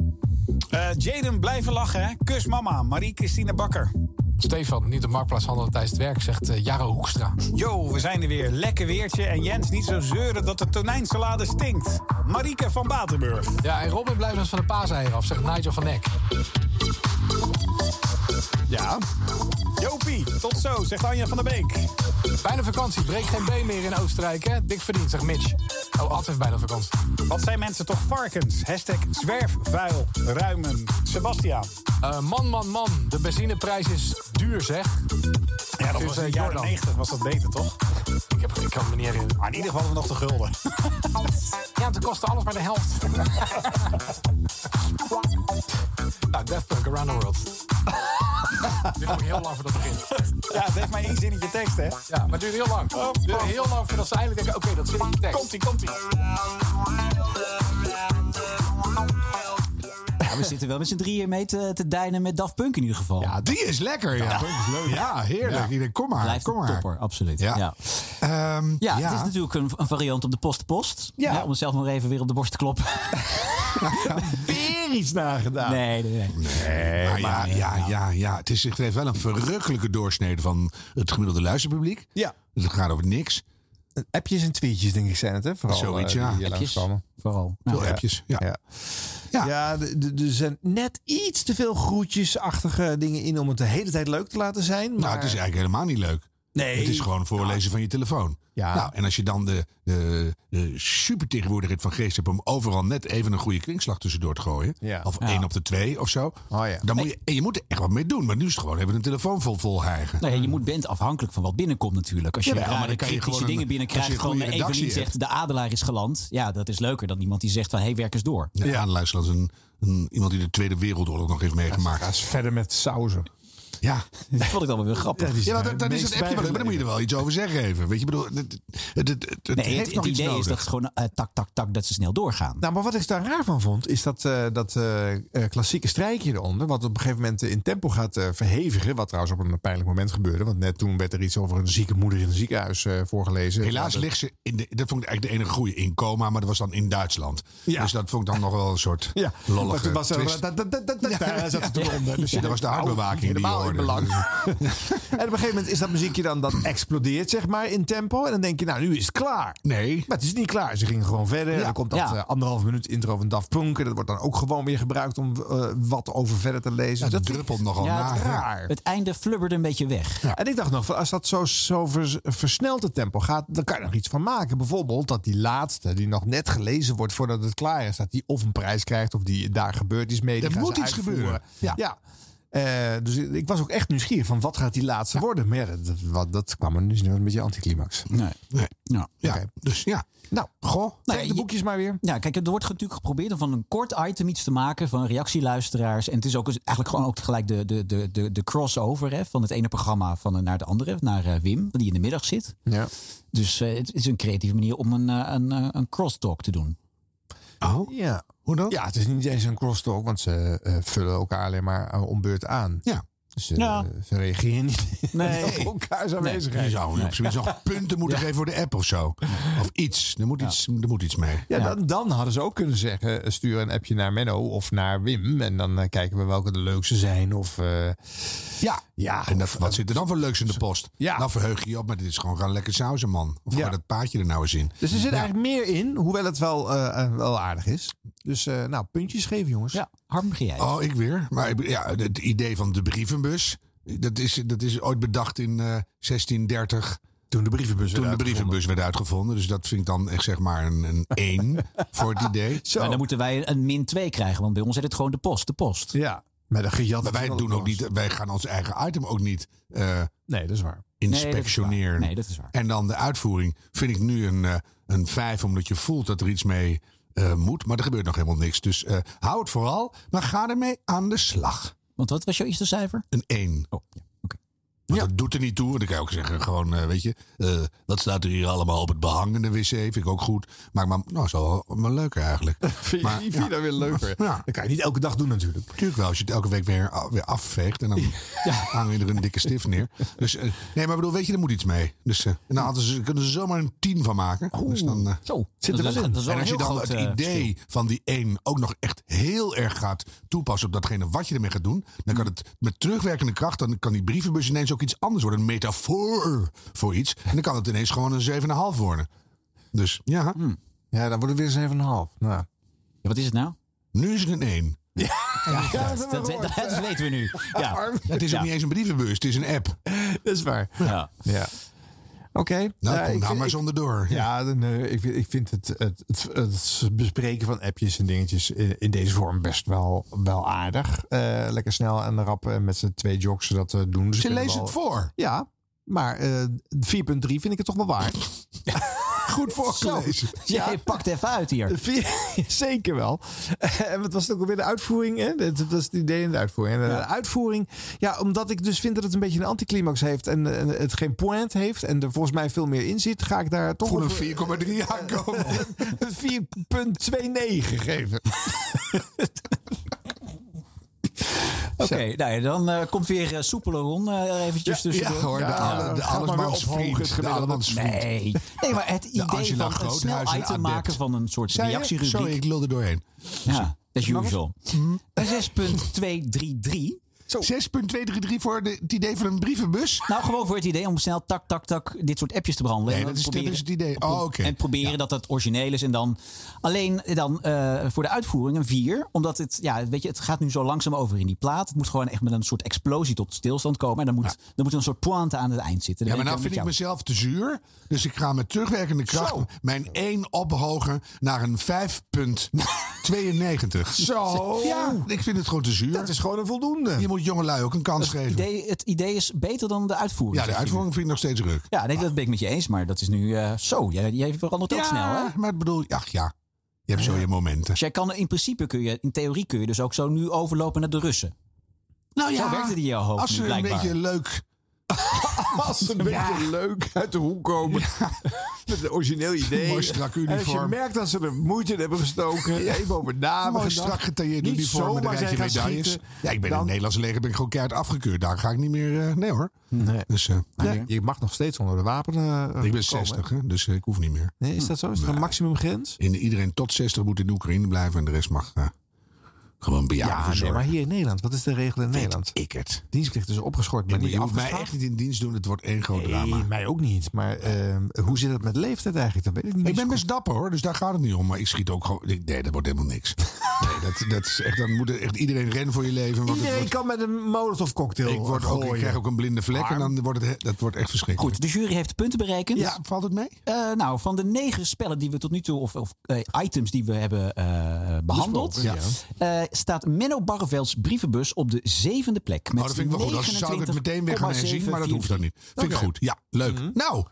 Speaker 5: Eh, Jaden, blijven lachen, hè. Kus mama, Marie-Christine Bakker.
Speaker 19: Stefan, niet op marktplaats handelen tijdens het werk, zegt eh, Jaro Hoekstra.
Speaker 5: Yo, we zijn er weer. Lekker weertje. En Jens, niet zo zeuren dat de tonijnsalade stinkt. Marieke van Batenburg.
Speaker 19: Ja, en Robin blijft eens van de paaseieren af, zegt Nigel van Eck.
Speaker 5: Ja. Jopie, tot zo, zegt Anja van der Beek.
Speaker 19: Bijna vakantie, breek geen been meer in Oostenrijk, hè? Dik verdiend, zegt Mitch. Oh, Ad heeft bijna vakantie.
Speaker 5: Wat zijn mensen toch varkens? Hashtag zwerfvuil ruimen. Sebastiaan.
Speaker 19: Eh, man, man, man, de benzineprijs is duur, zeg.
Speaker 5: Ja, dat
Speaker 19: Dus,
Speaker 5: was
Speaker 19: eh,
Speaker 5: in de jaren
Speaker 19: Jordan.
Speaker 5: 90 was dat beter, toch?
Speaker 19: Ik, heb, ik kan me niet herinneren.
Speaker 5: Maar in ieder geval nog de gulden.
Speaker 19: Ja, het kostte alles maar de helft. nou, Daft Punk, Around the World. Dit duurde heel lang voordat het begint.
Speaker 5: Ja, het heeft maar één zinnetje tekst, hè? Oh,
Speaker 19: Ja, maar het duurde heel lang. Het duurde heel lang voordat ze eindelijk denken, oké, dat zit in de tekst.
Speaker 5: Komt-ie, komt-ie.
Speaker 3: Ja, we zitten wel met z'n drieën mee te, te dijnen met Daft Punk in ieder geval.
Speaker 1: Ja, die is lekker. Ja, ja heerlijk. Ik denk, kom maar,
Speaker 3: Blijft
Speaker 1: kom
Speaker 3: een
Speaker 1: maar.
Speaker 3: topper, absoluut.
Speaker 1: Ja.
Speaker 3: Ja.
Speaker 1: Ehm,
Speaker 3: Ja,
Speaker 1: ja.
Speaker 3: het is natuurlijk een, een variant op de post-post.
Speaker 4: Ja.
Speaker 3: Hè, om mezelf maar even weer op de borst te kloppen.
Speaker 4: Weer iets nagedaan.
Speaker 3: Nee, nee, nee.
Speaker 1: Nee, maar ja, ja, ja, ja. Het, is, het heeft wel een verrukkelijke doorsnede van het gemiddelde luisterpubliek.
Speaker 4: Ja.
Speaker 1: Dus het gaat over niks.
Speaker 4: appjes en tweetjes, denk ik, zijn het, hè? Vooral,
Speaker 1: Zoiets,
Speaker 4: eh,
Speaker 1: ja.
Speaker 4: die hier
Speaker 1: Appjes,
Speaker 4: langskomen.
Speaker 3: Vooral.
Speaker 1: Veel appjes, ja.
Speaker 4: Ja, ja. de- de- er zijn net iets te veel groetjesachtige dingen in om het de hele tijd leuk te laten zijn. Maar...
Speaker 1: Nou, het is eigenlijk helemaal niet leuk.
Speaker 4: Nee.
Speaker 1: Het is gewoon voorlezen van je telefoon.
Speaker 4: Ja.
Speaker 1: Nou, en als je dan de, de, de supertegenwoordigheid van geest hebt om overal net even een goede kringslag tussendoor te gooien.
Speaker 4: Ja. Oh,
Speaker 1: Of
Speaker 4: Ja.
Speaker 1: één op de twee of zo. dan moet je, en je moet er echt wat mee doen. Maar nu is het gewoon even een telefoon vol, vol hijgen.
Speaker 3: Nou ja, je moet bent afhankelijk van wat binnenkomt natuurlijk. Als je
Speaker 1: Ja, maar
Speaker 3: allemaal
Speaker 1: dan
Speaker 3: rare
Speaker 1: kan je
Speaker 3: kritische
Speaker 1: gewoon een-
Speaker 3: dingen
Speaker 1: als je
Speaker 3: binnenkrijgt
Speaker 1: een goede
Speaker 3: van eh,
Speaker 1: redactie
Speaker 3: Evelien zegt
Speaker 1: hebt.
Speaker 3: de adelaar is geland. Ja, dat is leuker dan iemand die zegt van hé, hey, werk eens door.
Speaker 1: Ja, aanluisteren als een, een, iemand die de Tweede Wereldoorlog nog heeft meegemaakt.
Speaker 4: Ga eens verder met sauzen.
Speaker 1: Ja.
Speaker 3: Dat vond ik dan wel weer grappig.
Speaker 1: Ja, want dan, dan is het appje wel leuk, maar dan moet je er wel iets over zeggen even. Weet je, ik bedoel, het, het, het, het- het
Speaker 3: Nee,
Speaker 1: heeft
Speaker 3: het,
Speaker 1: nog
Speaker 3: het
Speaker 1: iets
Speaker 3: idee is
Speaker 1: nodig.
Speaker 3: dat het gewoon eh, tak, tak, tak, dat ze snel doorgaan.
Speaker 4: Nou, maar wat ik daar raar van vond, is dat, eh, dat eh, eh, klassieke strijkje eronder, wat op een gegeven moment eh, in tempo gaat eh, verhevigen, wat trouwens op een pijnlijk moment gebeurde, want net toen werd er iets over een zieke moeder in een ziekenhuis eh, voorgelezen.
Speaker 1: Helaas
Speaker 4: Ja, dat-
Speaker 1: ligt ze, in de, dat vond ik eigenlijk de enige goede, in coma, maar dat was dan in Duitsland. Dus dat vond ik dan nog wel een soort
Speaker 4: Ja,
Speaker 1: lollige
Speaker 4: maar toen was er-
Speaker 1: twist.
Speaker 4: da- da- da- da- da- daar zat het eronder. Dus
Speaker 1: Ja,
Speaker 4: je
Speaker 1: dat was de
Speaker 4: denkt,
Speaker 1: hartbewaking die
Speaker 4: helemaal
Speaker 1: je hoorde.
Speaker 4: in belang. en op een gegeven moment is dat muziekje dan, dat explodeert zeg maar in tempo. En dan denk je, nou nu is het klaar.
Speaker 1: Nee.
Speaker 4: Maar het is niet klaar. Ze gingen gewoon verder.
Speaker 1: Ja.
Speaker 4: Dan komt dat
Speaker 1: Ja.
Speaker 4: eh, anderhalf minuut intro van Daft Punk. En dat wordt dan ook gewoon weer gebruikt om eh, wat over verder te lezen. Dus
Speaker 1: dat druppelt nogal
Speaker 4: ja,
Speaker 1: na,
Speaker 4: het is
Speaker 1: hè?
Speaker 4: raar.
Speaker 3: Het einde flubberde een beetje weg.
Speaker 4: En ik dacht nog, van, als dat zo, zo vers- versneld het tempo gaat, dan kan je er nog iets van maken. Bijvoorbeeld dat die laatste, die nog net gelezen wordt voordat het klaar is, dat die of een prijs krijgt of die daar gebeurt iets mee. die
Speaker 1: Er
Speaker 4: gaan
Speaker 1: moet
Speaker 4: ze
Speaker 1: iets
Speaker 4: uitvoeren.
Speaker 1: gebeuren.
Speaker 4: Ja. Eh, dus ik ik was ook echt nieuwsgierig van wat gaat die laatste worden. Maar ja, dat, dat- wat, dat kwam er dus een beetje anticlimax.
Speaker 3: Nee. Ja.
Speaker 1: Dus ja.
Speaker 4: Nou,
Speaker 1: goh.
Speaker 4: trek de boekjes maar weer.
Speaker 3: Ja, kijk, er wordt natuurlijk geprobeerd om van een kort item iets te maken van reactieluisteraars. En het is ook eens- eigenlijk gewoon ook tegelijk de, de, de, de, de crossover hè, van het ene programma van, naar het andere, naar eh, Wim, die in de middag zit.
Speaker 4: Ja.
Speaker 3: Dus eh, het is een creatieve manier om een, eh, een, eh, een crosstalk te doen.
Speaker 1: Oh?
Speaker 4: Ja.
Speaker 1: Hoe dan?
Speaker 4: Ja, het is niet eens een crosstalk, want ze eh, vullen elkaar alleen maar eh, om beurt aan.
Speaker 1: Ja.
Speaker 4: Dus eh,
Speaker 1: Ja.
Speaker 4: ze reageren niet
Speaker 1: Nee.
Speaker 4: op elkaars aanwezigheid.
Speaker 1: Je zou op zijn minst nog punten moeten geven voor de app of zo. Of iets. Er moet, iets, er moet iets mee.
Speaker 4: Ja, Dan, dan hadden ze ook kunnen zeggen: eh, stuur een appje naar Menno of naar Wim. En dan eh, kijken we welke de leukste zijn. Of, eh,
Speaker 1: Ja.
Speaker 4: ja
Speaker 1: En dat, wat zit er dan voor leuks in de post? Dan Nou verheug je je op, maar dit is gewoon gaan lekker sausen, man. Of ga dat paadje er nou eens in.
Speaker 4: Dus er zit
Speaker 1: Ja.
Speaker 4: eigenlijk meer in, hoewel het wel, eh, eh, wel aardig is. Dus eh, nou, puntjes geven, jongens. Ja,
Speaker 3: Harm, begin jij.
Speaker 1: Oh, ik weer. Maar ik- ja, het idee van de brievenbus. Dat is, dat is ooit bedacht in eh, 1630.
Speaker 4: Toen de brievenbus,
Speaker 1: Toen
Speaker 4: werd
Speaker 1: de brievenbus werd uitgevonden. Dus dat vind ik dan echt zeg maar een, een 1 voor het idee.
Speaker 3: Maar dan moeten wij een min 2 krijgen, want bij ons heet het gewoon de post, de post.
Speaker 4: Ja, maar de gejat
Speaker 1: Maar wij, doen ook niet, wij gaan ons eigen item ook niet eh,
Speaker 4: nee, dat is waar.
Speaker 1: inspectioneren.
Speaker 3: Nee, dat is waar.
Speaker 1: En dan de uitvoering vind ik nu een, eh, een 5, omdat je voelt dat er iets mee eh, moet. Maar er gebeurt nog helemaal niks. Dus eh, hou het vooral, maar ga ermee aan de slag.
Speaker 3: Want wat was jouw eerste cijfer?
Speaker 1: Een 1.
Speaker 3: Oh,
Speaker 1: Want dat doet er niet toe. Want dan kan je ook zeggen, gewoon, eh, weet je, eh, wat staat er hier allemaal op het behang in de wc? Vind ik ook goed. Maar, maar nou, is wel, wel leuker eigenlijk.
Speaker 4: Vind je, vind je dat weer leuker? Dat kan je niet elke dag doen natuurlijk.
Speaker 1: Natuurlijk wel, als je het elke week weer, a- weer afveegt en dan hang je er een dikke stift neer. Dus, eh, nee, maar ik bedoel, weet je, er moet iets mee. Dus, eh, nou, hadden ze, kunnen ze zomaar een tien van maken. dus dan, eh,
Speaker 3: Zo,
Speaker 1: zit er
Speaker 3: dat is-
Speaker 1: wel in.
Speaker 3: dat is wel
Speaker 1: En als je
Speaker 3: een
Speaker 1: dan
Speaker 3: heel
Speaker 1: het
Speaker 3: groot, eh,
Speaker 1: idee van die één ook nog echt heel erg gaat toepassen op datgene wat je ermee gaat doen, dan
Speaker 3: Hm.
Speaker 1: kan het met terugwerkende kracht, dan kan die brievenbus ineens ook iets anders worden. Een metafoor voor iets. En dan kan het ineens gewoon een 7,5 worden. Dus ja.
Speaker 4: Ja, dan wordt het weer 7,5. Ja.
Speaker 3: Hmm. wat is het nou?
Speaker 1: Nou. Nu is het een 1.
Speaker 3: Ja, dat, dat, dat- dat weten we nu. Ja.
Speaker 1: Het is ook
Speaker 3: Ja.
Speaker 1: niet eens een brievenbus, het is een app.
Speaker 4: Dat is waar.
Speaker 3: Ja.
Speaker 4: Ja. Oké.
Speaker 1: Nou, kom
Speaker 4: ik
Speaker 1: nou
Speaker 4: vind-
Speaker 1: maar
Speaker 4: ik-
Speaker 1: zonder door.
Speaker 4: Ja, dan, eh, ik, vind- ik vind het, het, het, het bespreken van appjes en dingetjes eh, in deze vorm best wel, wel aardig. Eh, lekker snel en rap eh, met z'n twee jocks dat eh, doen.
Speaker 1: Ze
Speaker 4: kunnen
Speaker 1: lezen
Speaker 4: wel-
Speaker 1: het voor.
Speaker 4: Ja, maar eh, 4.3 vind ik het toch wel waard.
Speaker 1: Goed voorgelezen.
Speaker 3: Ja, je pakt even uit hier.
Speaker 4: Vier- Zeker wel. Eh, En wat was het ook alweer? De uitvoering. Hè? Dat dat was het idee in de uitvoering. En de uitvoering. Ja, omdat ik dus vind dat het een beetje een anticlimax heeft. En, eh, het geen point heeft. En er volgens mij veel meer in zit. Ga ik daar toch
Speaker 1: Voor
Speaker 4: op-
Speaker 1: een 4,3 aankomen.
Speaker 4: 4.29 geven.
Speaker 3: Oké, nou ja, dan eh, komt weer eh, soepele Ron eh, eventjes tussendoor.
Speaker 1: ja, hoor, de alle- de allesmans vriend, de allesmans vriend.
Speaker 3: Nee. nee, maar het idee
Speaker 1: Angela
Speaker 3: van een
Speaker 1: Groothuis,
Speaker 3: snel
Speaker 1: een
Speaker 3: item
Speaker 1: adept.
Speaker 3: maken van een soort
Speaker 1: Zei je?
Speaker 3: reactierubriek. Hm.
Speaker 1: Sorry, ik lulde doorheen.
Speaker 3: Ja, as usual. Een 6.233
Speaker 1: 6,233 voor de, het idee van een brievenbus?
Speaker 3: Nou, gewoon voor het idee om snel tak, tak, tak dit soort appjes te brandelen.
Speaker 1: Nee,
Speaker 3: En
Speaker 1: dat
Speaker 3: dan
Speaker 1: is- dat is het idee. Oh, oké.
Speaker 3: En proberen dat dat origineel is. En dan alleen dan, eh, voor de uitvoering een 4. Omdat het, ja, weet je, het gaat nu zo langzaam over in die plaat. Het moet gewoon echt met een soort explosie tot stilstand komen. En dan moet, dan moet er een soort pointe aan het eind zitten.
Speaker 1: Ja,
Speaker 3: Dan
Speaker 1: maar
Speaker 3: ben
Speaker 1: nou vind ik
Speaker 3: helemaal met jou.
Speaker 1: mezelf te zuur. Dus ik ga met terugwerkende kracht mijn 1 ophogen naar een 5,92.
Speaker 4: Zo.
Speaker 1: Ja, ik vind het gewoon te zuur. Dat is
Speaker 4: gewoon een voldoende.
Speaker 1: Je moet jongelui ook een kans geven.
Speaker 3: idee, het idee is beter dan de uitvoering.
Speaker 1: Ja, de uitvoering vind ik nog steeds ruk.
Speaker 3: Ja, nee, dat ben ik met je eens. Maar dat is nu eh, zo. Jij, jij verandert ook
Speaker 1: Ja,
Speaker 3: snel, hè?
Speaker 1: maar ik bedoel, ach ja. Je hebt zo je momenten.
Speaker 3: Dus jij kan in principe, kun je, in theorie kun je dus ook zo nu overlopen naar de Russen.
Speaker 1: Nou ja,
Speaker 3: Zo werkt het in jouw hoofd
Speaker 1: als
Speaker 3: nu
Speaker 1: ze een
Speaker 3: blijkbaar.
Speaker 1: beetje leuk...
Speaker 4: Als ze een beetje leuk uit de hoek komen. Met een origineel idee.
Speaker 1: Mooi strak
Speaker 4: En als je
Speaker 1: uniform.
Speaker 4: merkt dat ze er moeite in hebben gestoken.
Speaker 1: eh,
Speaker 4: Even over namen.
Speaker 1: Mooi
Speaker 4: gedacht.
Speaker 1: strak getailleerd
Speaker 4: Niet
Speaker 1: uniform met een
Speaker 4: zomaar
Speaker 1: rijtje
Speaker 4: zijn gaan
Speaker 1: medailles.
Speaker 4: schieten.
Speaker 1: Ja, ik ben in het
Speaker 4: Dan-
Speaker 1: Nederlandse leger ben ik gewoon keihard afgekeurd. Daar ga ik niet meer... eh, nee hoor. Dus, eh,
Speaker 4: Nee, Nou, Je mag nog steeds onder de wapen. eh,
Speaker 1: Ik ben
Speaker 4: komen.
Speaker 1: 60, hè, dus eh, ik hoef niet meer.
Speaker 4: Nee, is dat zo? Is er een maximumgrens?
Speaker 1: In, iedereen tot 60 moet in de Oekraïne blijven en de rest mag eh, gewoon bejaarden
Speaker 4: Ja, nee,
Speaker 1: verzorgen.
Speaker 4: maar hier in Nederland. Wat is de regel in Nederland?
Speaker 1: ik het.
Speaker 4: Dienstplicht is opgeschort, maar
Speaker 1: Ja, maar
Speaker 4: niet
Speaker 1: je hoeft mij
Speaker 4: afgeschaft.
Speaker 1: echt niet in dienst doen. Het wordt één groot drama.
Speaker 4: Nee, mij ook niet. Maar ehm, hoe zit het met leeftijd eigenlijk? Dat weet ik niet.
Speaker 1: Ik ben best dapper hoor, dus daar gaat het niet om. Maar ik schiet ook gewoon... ik- Nee, dat wordt helemaal niks. Nee, dat, dat is echt, dan moet er echt iedereen rennen voor je leven. Want
Speaker 4: Iedereen
Speaker 1: het wordt,
Speaker 4: kan met een molotov cocktail
Speaker 1: ik, word ook, ik
Speaker 4: gooien.
Speaker 1: krijg ook een blinde vlek en dan wordt het, he- dat wordt echt verschrikkelijk.
Speaker 3: Goed, de jury heeft de punten berekend.
Speaker 1: Ja, valt het mee?
Speaker 3: nou, van de negen spellen die we tot nu toe, of, of eh, items die we hebben eh, behandeld,
Speaker 1: Besproken,
Speaker 3: eh, staat Menno Barrevelds brievenbus op de zevende plek.
Speaker 1: Oh, dat vind ik wel goed. Als zou ik het meteen weer gaan herzien, maar dat hoeft dan niet. Vind ik goed. Ja, leuk. Nou,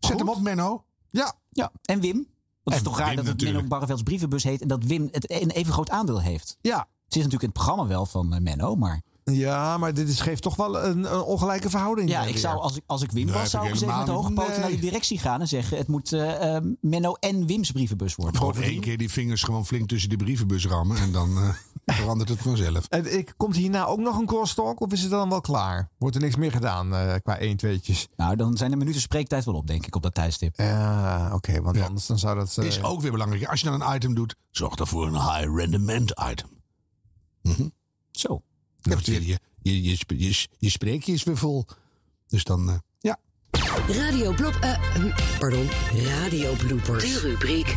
Speaker 1: zet hem op, Menno. Ja.
Speaker 3: ja. En Wim? Want het
Speaker 1: En
Speaker 3: is toch raar
Speaker 1: Wim
Speaker 3: dat het
Speaker 1: natuurlijk.
Speaker 3: Menno Barrevelds brievenbus heet en dat Wim het een even groot aandeel heeft.
Speaker 4: Ja.
Speaker 3: Het is natuurlijk in het programma wel van eh, Menno, maar
Speaker 4: Ja, maar dit is, geeft toch wel een, een ongelijke verhouding.
Speaker 3: ja,
Speaker 4: eh,
Speaker 3: ik
Speaker 4: weer.
Speaker 3: zou, als, ik, als ik Wim
Speaker 4: Nee,
Speaker 3: was, zou ik
Speaker 4: heb
Speaker 3: eens
Speaker 4: ik
Speaker 3: even met de
Speaker 4: helemaal
Speaker 3: hoge
Speaker 4: niet.
Speaker 3: poten naar de
Speaker 4: Nee.
Speaker 3: directie gaan en zeggen: het moet eh, eh,
Speaker 4: Ehm,
Speaker 3: Menno en Wims brievenbus worden.
Speaker 1: Gewoon één keer die vingers gewoon flink tussen die brievenbus rammen. En dan eh, verandert het vanzelf.
Speaker 4: En ik, komt hierna ook nog een crosstalk of is het dan wel klaar? Wordt er niks meer gedaan eh, qua 1 tweetjes?
Speaker 3: Nou, dan zijn de minuten spreektijd wel op, denk ik, op dat tijdstip.
Speaker 4: Ja, oké, want anders dan zou dat... eh,
Speaker 1: Is ook weer belangrijk. Als je dan een item doet, zorg dan voor een high rendement item. Mhm.
Speaker 3: Zo.
Speaker 1: Ja, want je, je, je, je, sp- je, s- je spreekje is weer vol. Dus dan... eh, ja.
Speaker 20: Radio Blop... eh, hm, pardon. Radio Bloopers. De rubriek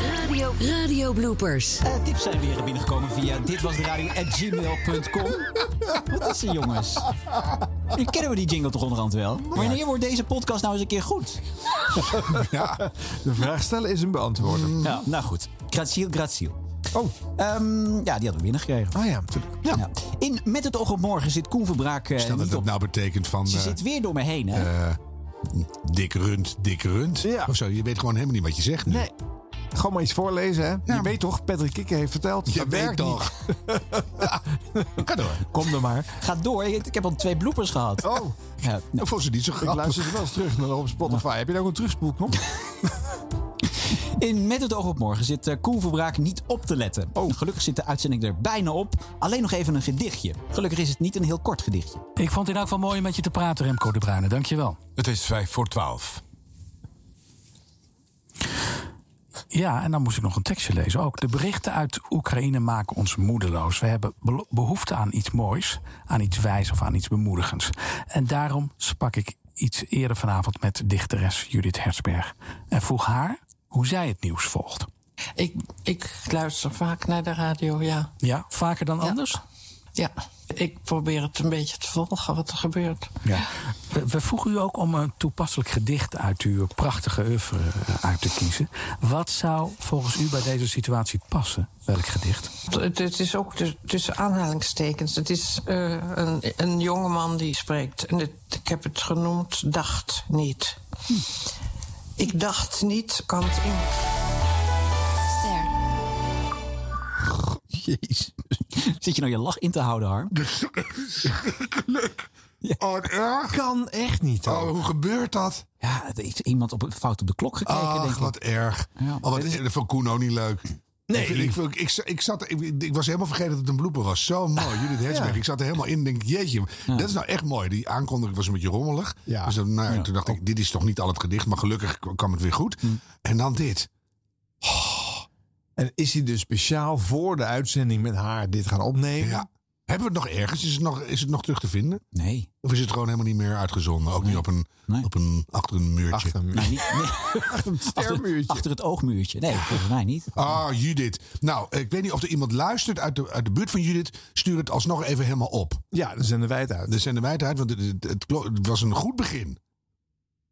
Speaker 20: Radio, radio Bloopers.
Speaker 3: Eh, tips zijn weer binnengekomen via ditwasderadio.gmail.com. Wat is er, jongens? Nu kennen we die jingle toch onderhand wel? Wanneer wordt deze podcast nou eens een keer goed?
Speaker 4: ja, de vraag stellen is een beantwoorden.
Speaker 3: Ja, nou goed. Graziel, graziel. Ehm,
Speaker 4: Oh.
Speaker 3: ja, die hadden we binnengekregen.
Speaker 4: Ah ja, natuurlijk.
Speaker 3: Ja. In Met het oog op morgen zit Koen Verbraak eh,
Speaker 1: Stel dat
Speaker 3: niet
Speaker 1: dat
Speaker 3: op.
Speaker 1: nou betekent van...
Speaker 3: Ze
Speaker 1: eh,
Speaker 3: zit weer door me heen, hè?
Speaker 1: eh, dik rund, dik rund. Of zo. Je weet gewoon helemaal niet wat je zegt nu.
Speaker 4: Nee. Gewoon maar iets voorlezen, hè? je weet toch, Patrick Kikker heeft verteld.
Speaker 1: Je
Speaker 4: dat
Speaker 1: weet
Speaker 4: werkt
Speaker 1: toch.
Speaker 4: Niet.
Speaker 1: Ga door.
Speaker 4: Kom er maar.
Speaker 3: Ga door. Ik, ik heb al twee bloepers gehad.
Speaker 4: Oh.
Speaker 3: Ja, nou.
Speaker 1: Vond ze niet zo
Speaker 4: Ik
Speaker 1: grappig.
Speaker 4: luister ze wel eens terug naar op Spotify. Heb je daar ook een terugspoelknop?
Speaker 3: In Met het oog op morgen zit eh, Koen Verbraak niet op te letten. Gelukkig zit de uitzending er bijna op. Alleen nog even een gedichtje. Gelukkig is het niet een heel kort gedichtje.
Speaker 5: Ik vond het in elk geval mooi om met je te praten, Remco de Bruyne. Dankjewel.
Speaker 23: Het is 5 voor 12.
Speaker 5: Ja, en dan moest ik nog een tekstje lezen ook. De berichten uit Oekraïne maken ons moedeloos. We hebben belo- behoefte aan iets moois, aan iets wijs of aan iets bemoedigends. En daarom sprak ik iets eerder vanavond met dichteres Judith Herzberg. En vroeg haar hoe zij het nieuws volgt.
Speaker 17: Ik, ik luister vaak naar de radio, ja.
Speaker 5: Ja, vaker dan anders?
Speaker 17: Ja, ik probeer het een beetje te volgen wat er gebeurt.
Speaker 5: Ja. We, we vroegen u ook om een toepasselijk gedicht uit uw prachtige oeuvre eh, uit te kiezen. Wat zou volgens u bij deze situatie passen? Welk gedicht?
Speaker 17: Het, het is ook dus- tussen aanhalingstekens. Het is eh, een, een jongeman die spreekt. En het- ik heb het genoemd Dacht niet.
Speaker 5: Hm.
Speaker 17: Ik dacht niet, kan het in.
Speaker 3: Jezus. Zit je nou je lach in te houden, Harm?
Speaker 1: Oh, erg.
Speaker 4: Kan echt niet.
Speaker 1: Oh, hoe gebeurt dat?
Speaker 3: Ja, er heeft iemand op, fout op de klok gekeken, denk
Speaker 1: Ach,
Speaker 3: ik.
Speaker 1: wat erg. Oh, wat is dat vond Koen ook niet leuk. Nee. Ik, ik, ik, ik, ik zat, ik, ik was helemaal vergeten dat het een blooper was. Zo
Speaker 3: Ah,
Speaker 1: mooi, Judith Hersberg. Ik zat er helemaal in en denk, jeetje, dat is nou echt mooi. Die aankondiging was een beetje rommelig.
Speaker 4: Ja.
Speaker 1: Dus dan, nou, toen dacht ik, dit is toch niet al het gedicht. Maar gelukkig k- kwam het weer goed.
Speaker 3: Hm.
Speaker 1: En dan dit.
Speaker 4: En is hij dus speciaal voor de uitzending met haar dit gaan opnemen?
Speaker 1: Ja. Hebben we het nog ergens? Is het nog, is het nog terug te vinden?
Speaker 3: Nee.
Speaker 1: Of is het gewoon helemaal niet meer uitgezonden? Ook niet op een, op een, achter een muurtje? Achter
Speaker 3: een
Speaker 1: muurtje.
Speaker 3: Achter, achter het oogmuurtje. Nee, volgens mij niet.
Speaker 1: Ah, Judith. Nou, ik weet niet of er iemand luistert uit de, uit de buurt van Judith. Stuur het alsnog even helemaal op.
Speaker 4: Ja, dan zenden wij het uit.
Speaker 1: Dan zenden wij het uit, want het, het- het klo- het was een goed begin.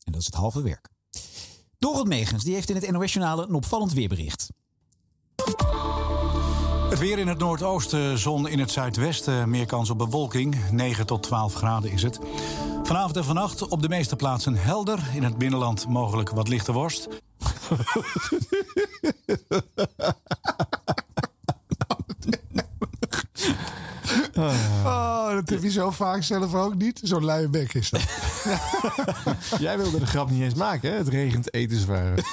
Speaker 3: En dat is het halve werk. Dorot Megens die heeft in het NOS-journaal een opvallend weerbericht.
Speaker 5: Het weer in het noordoosten, zon in het zuidwesten, meer kans op bewolking. 9 tot 12 graden is het. Vanavond en vannacht op de meeste plaatsen helder. In het binnenland mogelijk wat lichte worst.
Speaker 3: Ah.
Speaker 1: Oh, dat heb je zo vaak zelf ook niet. Zo'n luie bek is dat.
Speaker 4: Jij wilde de grap niet eens maken, hè? Het regent etenswaren.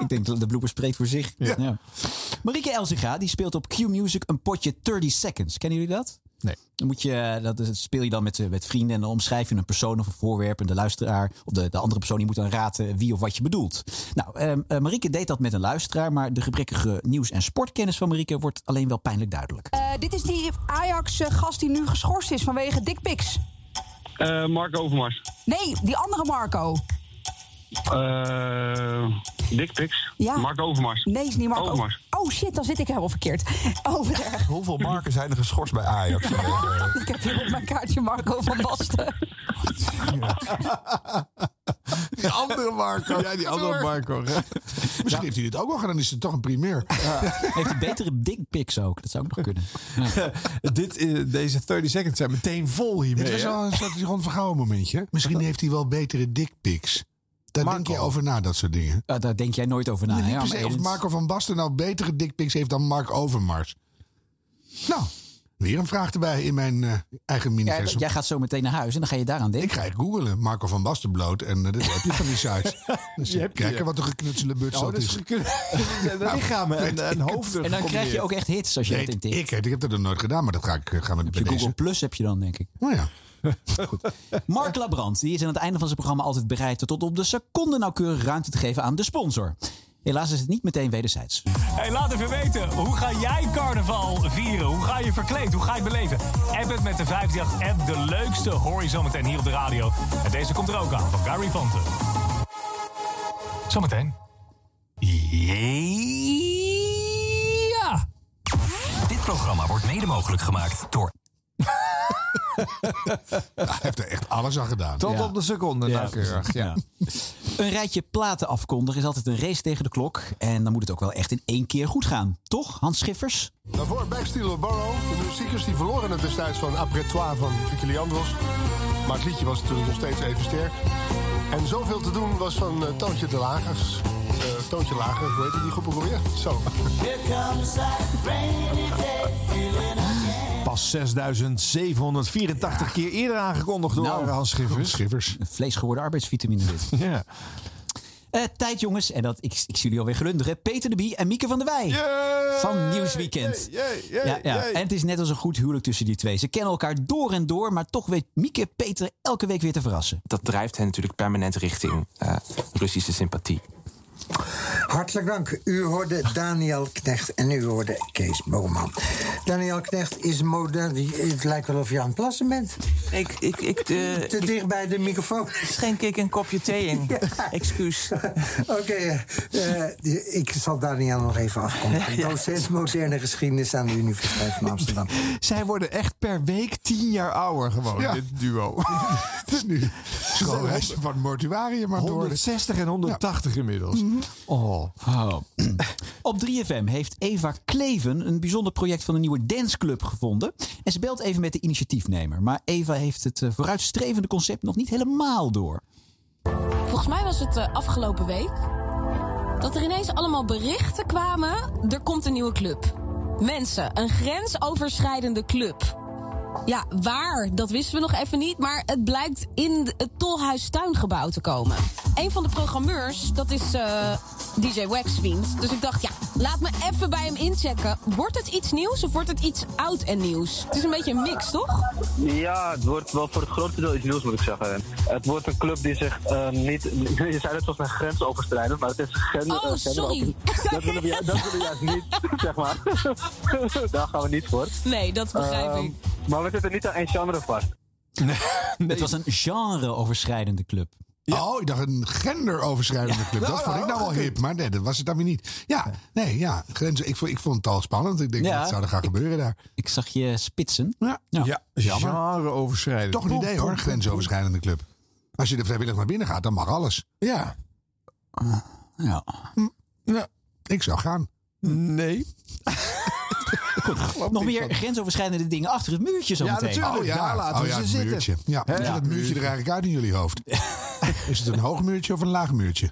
Speaker 3: Ik denk dat de blooper spreekt voor zich. Ja. Marieke Elzinga die speelt op Q-Music een potje 30 Seconds. Kennen jullie dat?
Speaker 4: Nee.
Speaker 3: Dan moet je, dat is- speel je dan met, eh, met vrienden en dan omschrijf je een persoon of een voorwerp. En de luisteraar of de, de andere persoon die moet dan raden wie of wat je bedoelt. Nou, ehm, eh, Marieke deed dat met een luisteraar. Maar de gebrekkige nieuws- en sportkennis van Marieke wordt alleen wel pijnlijk duidelijk.
Speaker 24: Eh, dit is die Ajax-gast die nu geschorst is vanwege dickpics.
Speaker 21: Eh, Mark Overmars.
Speaker 24: Nee, die andere Marco.
Speaker 21: Eh Dickpics.
Speaker 24: Ja.
Speaker 21: Mark Overmars.
Speaker 24: Nee, is niet Marco.
Speaker 21: Overmars.
Speaker 24: Oh shit, dan zit ik helemaal verkeerd. Over. eh,
Speaker 25: Hoeveel marken zijn er geschorst bij Ajax?
Speaker 24: ik heb hier op mijn kaartje Marco van Basten.
Speaker 1: Die andere Marco. Ja, die andere Marco. Misschien heeft hij dit ook wel gedaan. Is het toch een primeur?
Speaker 3: Heeft hij betere dickpics ook? Dat zou ook nog kunnen.
Speaker 4: Dit, eh, deze 30 seconds zijn meteen vol hiermee.
Speaker 1: Dit was
Speaker 4: hè?
Speaker 1: wel een soort van vergouwen momentje. Misschien heeft hij wel betere dickpics. Daar denk je over na, dat soort dingen.
Speaker 3: daar denk jij nooit over na.
Speaker 1: Nee, niet
Speaker 3: hè,
Speaker 1: per
Speaker 3: maar
Speaker 1: se of
Speaker 3: Edens?
Speaker 1: Marco van Basten nou betere dickpics heeft dan Mark Overmars. Nou, weer een vraag erbij in mijn eh, eigen
Speaker 3: Jij,
Speaker 1: miniversum.
Speaker 3: jij gaat zo meteen naar huis en dan ga je daaraan denken.
Speaker 1: Ik ga echt googelen. Marco van Basten bloot. En eh, dat heb je van die site. Dus
Speaker 3: Je hebt die,
Speaker 1: kijken
Speaker 3: ja.
Speaker 1: wat een geknutselde beurt
Speaker 3: Oh,
Speaker 1: dat
Speaker 3: dus
Speaker 1: is. Nou,
Speaker 4: de lichamen en- en hoofden
Speaker 3: En dan krijg je ook echt hits als je
Speaker 1: nee,
Speaker 3: dat intikt.
Speaker 1: Ik, heb- ik heb dat nog nooit gedaan, maar dat ga ik eh, gaan we
Speaker 3: Heb je Google Plus heb je dan, denk ik.
Speaker 1: Oh ja.
Speaker 3: Goed. Mark Labrand die is aan het einde van zijn programma altijd bereid tot op de seconde nauwkeurig ruimte te geven aan de sponsor. Helaas is het niet meteen wederzijds.
Speaker 17: Hey, laat even weten, hoe ga jij carnaval vieren? Hoe ga je verkleed? Hoe ga je het beleven? App het met de 538-app. De leukste hoor je zometeen hier op de radio. En deze komt er ook aan, van Gary Panten. Zometeen. Ja!
Speaker 26: Dit programma wordt mede mogelijk gemaakt door
Speaker 1: Hij heeft er echt alles aan gedaan.
Speaker 4: Tot op de seconde nou,
Speaker 3: Ja,
Speaker 4: nauwkeurig.
Speaker 3: precies.
Speaker 4: Ja.
Speaker 3: Een rijtje platen afkondigen is altijd een race tegen de klok. En dan moet het ook wel echt in één keer goed gaan. Toch, Hans Schiffers?
Speaker 27: Daarvoor Backsteel Barrow. De muziekers die verloren het destijds van Appretois van Vicky Leandros. Maar het liedje was natuurlijk nog steeds even sterk. En zoveel te doen was van eh, Toontje de Lagers. Eh, Toontje Lager, hoe heet die groep ook alweer? Zo.
Speaker 4: Pas 6784 keer eerder aangekondigd door Hans Schiffers.
Speaker 1: Schiffers.
Speaker 3: Nou, Een vlees geworden arbeidsvitamine dit. Eh,
Speaker 4: ja.
Speaker 3: tijd jongens, en dat, ik, ik zie jullie alweer glunderen. Peter de Bie en Mieke van der Wij. Van Nieuwsweekend. ja, ja. En het is net als een goed huwelijk tussen die twee. Ze kennen elkaar door en door, maar toch weet Mieke Peter elke week weer te verrassen.
Speaker 12: dat drijft hen natuurlijk permanent richting eh, Russische sympathie.
Speaker 28: Hartelijk dank. U hoorde Daniel Knecht en u hoorde Kees Boman. Daniel Knecht is modern. Het lijkt wel of je aan het plassen bent.
Speaker 29: Ik, ik, ik, eh,
Speaker 28: Te dicht bij de microfoon.
Speaker 29: Schenk ik een kopje thee in. Excuus.
Speaker 28: Oké, eh, eh, ik zal Daniel nog even afkomen. Docent moderne geschiedenis aan de Universiteit van Amsterdam.
Speaker 4: Zij worden echt per week tien jaar ouder gewoon,
Speaker 28: Ja.
Speaker 4: dit duo.
Speaker 1: het is nu schoolreisje van het mortuarium maar door.
Speaker 4: 160 en 180 inmiddels. Oh.
Speaker 3: Op 3FM heeft Eva Kleven een bijzonder project van een nieuwe danceclub gevonden. En ze belt even met de initiatiefnemer. Maar Eva heeft het eh, vooruitstrevende concept nog niet helemaal door.
Speaker 15: Volgens mij was het eh, afgelopen week dat er ineens allemaal berichten kwamen. Er komt een nieuwe club. Mensen, een grensoverschrijdende club. Ja, waar, dat wisten we nog even niet. Maar het blijkt in het Tolhuis Tuingebouw te komen. Een van de programmeurs, dat is eh, DJ Waxfiend. Dus ik dacht, ja, laat me even bij hem inchecken. Wordt het iets nieuws of wordt het iets oud en nieuws? Het is een beetje een mix, toch?
Speaker 17: Ja, het wordt wel voor het grootste deel iets nieuws, moet ik zeggen. Het wordt een club die zich eh, niet... Je zei net zoals een grens overschrijdend, maar het is gender...
Speaker 15: Oh,
Speaker 17: eh, gender-
Speaker 15: sorry.
Speaker 17: Dat willen, we, ju- dat willen we juist niet, zeg maar. Daar gaan we niet voor.
Speaker 15: Nee, dat begrijp
Speaker 17: Ehm,
Speaker 15: ik.
Speaker 17: Maar we zitten niet aan één genre vast.
Speaker 3: Het was een genreoverschrijdende club.
Speaker 1: Oh, ik dacht een genderoverschrijdende club. Dat
Speaker 3: Nou,
Speaker 1: vond ik nou
Speaker 3: nou,
Speaker 1: wel
Speaker 3: gekund.
Speaker 1: hip, maar nee, dat was het dan weer niet. Ja, nee, ja. Grenzen, ik, vond, ik vond het al spannend. Ik denk,
Speaker 3: Ja,
Speaker 1: wat zou er gaan gebeuren daar?
Speaker 3: Ik zag je spitsen.
Speaker 1: Ja, ja. jammer.
Speaker 4: Genreoverschrijdend.
Speaker 1: Toch een idee hoor, grensoverschrijdende club. Als je er vrijwillig naar binnen gaat, dan mag alles. Ja.
Speaker 3: Ja.
Speaker 1: ja. Ik zou gaan.
Speaker 4: Nee.
Speaker 3: Nog meer grensoverschrijdende dingen achter het muurtje zo
Speaker 1: ja,
Speaker 3: meteen.
Speaker 1: natuurlijk. ja. oh, ja, het Muurtje. Ja, hoe ziet dat muurtje er eigenlijk uit in jullie hoofd? Is het een hoog muurtje of een laag muurtje?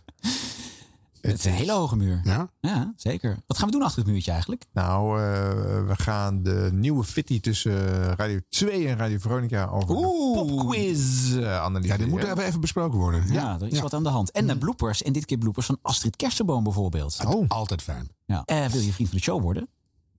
Speaker 3: Het is een hele hoge muur.
Speaker 1: Ja?
Speaker 3: Ja, zeker. Wat gaan we doen achter het muurtje eigenlijk?
Speaker 4: Nou, eh, we gaan de nieuwe fitty tussen Radio 2 en Radio Veronica over de popquiz eh,
Speaker 1: Ja,
Speaker 4: analyseren.
Speaker 1: dit moet even, even besproken worden.
Speaker 4: Mhm.
Speaker 3: Ja, er is wat aan de hand. En de bloopers. En dit keer bloopers van Astrid Kersenboom bijvoorbeeld.
Speaker 4: Oh.
Speaker 1: Altijd fijn.
Speaker 3: Ja. Eh, wil je vriend van de show worden?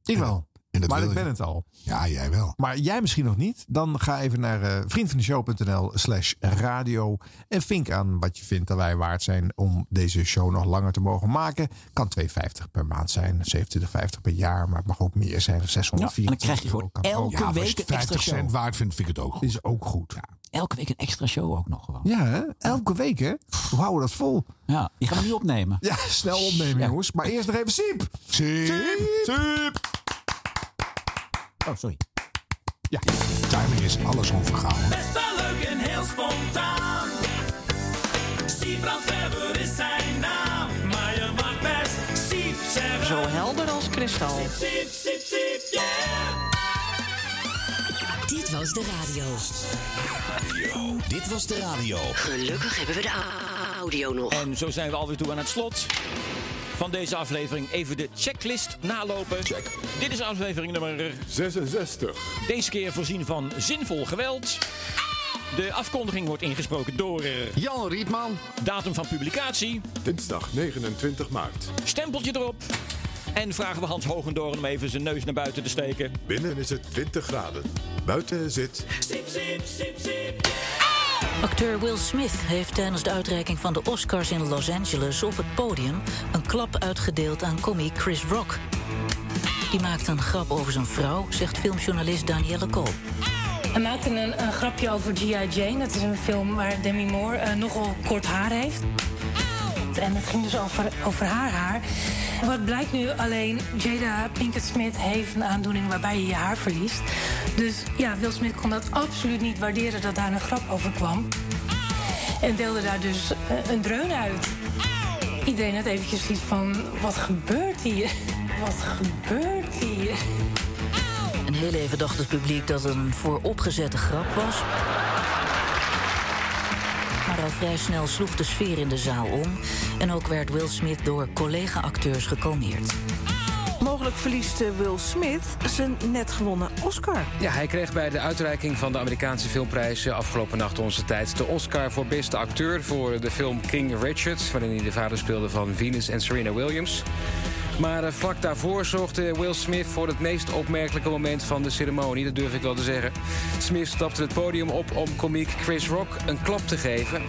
Speaker 4: Ik wel.
Speaker 1: En dat
Speaker 4: maar
Speaker 1: wil
Speaker 4: ik
Speaker 1: je.
Speaker 4: ben het al.
Speaker 1: Ja, jij wel.
Speaker 4: Maar jij misschien nog niet. Dan ga even naar eh vriendvandeshow.nl slash radio. En vink aan wat je vindt dat wij waard zijn om deze show nog langer te mogen maken. Kan 2,50 per maand zijn, 27,50 per jaar. Maar het mag ook meer zijn,
Speaker 3: Ja,
Speaker 4: 640.
Speaker 3: en dan krijg je gewoon elke
Speaker 4: ja,
Speaker 3: week een extra show.
Speaker 1: waard vind, ik het ook goed.
Speaker 4: Is ook goed.
Speaker 3: Elke week een extra show ook nog gewoon.
Speaker 4: Ja, hè? elke week hè. We houden dat vol.
Speaker 3: Ja, die gaan we niet opnemen.
Speaker 4: Ja, snel opnemen jongens. Maar eerst nog even Siep.
Speaker 1: Siep. Siep.
Speaker 3: Oh, sorry.
Speaker 4: Ja.
Speaker 1: Timing is alles onvergaan.
Speaker 13: Best wel leuk en heel spontaan. Siebrand Weber is zijn naam. Maar je mag best Siep zeggen.
Speaker 30: Zo helder als kristal.
Speaker 13: Siep, Siep, Siep, Siep, yeah.
Speaker 31: Dit was de radio.
Speaker 32: Dit was de radio.
Speaker 31: Gelukkig hebben we de a- audio nog.
Speaker 2: En zo zijn we alweer toe aan het slot van deze aflevering. Even de checklist nalopen. Check. Dit is aflevering nummer 66. Deze keer voorzien van zinvol geweld. De afkondiging wordt ingesproken door... Jan Rietman. Datum van publicatie.
Speaker 33: Dinsdag 29 maart.
Speaker 2: Stempeltje erop. En vragen we Hans Hogendoorn om even zijn neus naar buiten te steken.
Speaker 33: Binnen is het 20 graden. Buiten zit
Speaker 13: Siep, Siep, Siep, Siep, yeah.
Speaker 7: Acteur Will Smith heeft tijdens de uitreiking van de Oscars in Los Angeles op het podium een klap uitgedeeld aan comiek Chris Rock. Die maakt een grap over zijn vrouw, zegt filmjournalist Danielle Kool.
Speaker 14: Hij maakte een, een grapje over G.I. Jane. Dat is een film waar Demi Moore eh, nogal kort haar heeft. En het ging dus over, over haar haar. Wat blijkt nu alleen, Jada Pinkett Smith heeft een aandoening waarbij je je haar verliest. Dus ja, Will Smith kon dat absoluut niet waarderen dat daar een grap over kwam. En deelde daar dus eh, een dreun uit. Iedereen had eventjes iets van, wat gebeurt hier? Wat gebeurt hier?
Speaker 7: En heel even dacht het publiek dat het een vooropgezette grap was. Maar al vrij snel sloeg de sfeer in de zaal om. En ook werd Will Smith door collega-acteurs gekalmeerd.
Speaker 30: Mogelijk verliest eh, Will Smith zijn net gewonnen Oscar.
Speaker 18: Ja, hij kreeg bij de uitreiking van de Amerikaanse filmprijs eh, afgelopen nacht onze tijd de Oscar voor beste acteur voor de film King Richard, waarin hij de vader speelde van Venus en Serena Williams. Maar eh, vlak daarvoor zorgde Will Smith voor het meest opmerkelijke moment van de ceremonie, dat durf ik wel te zeggen. Smith stapte het podium op om komiek Chris Rock een klap te geven.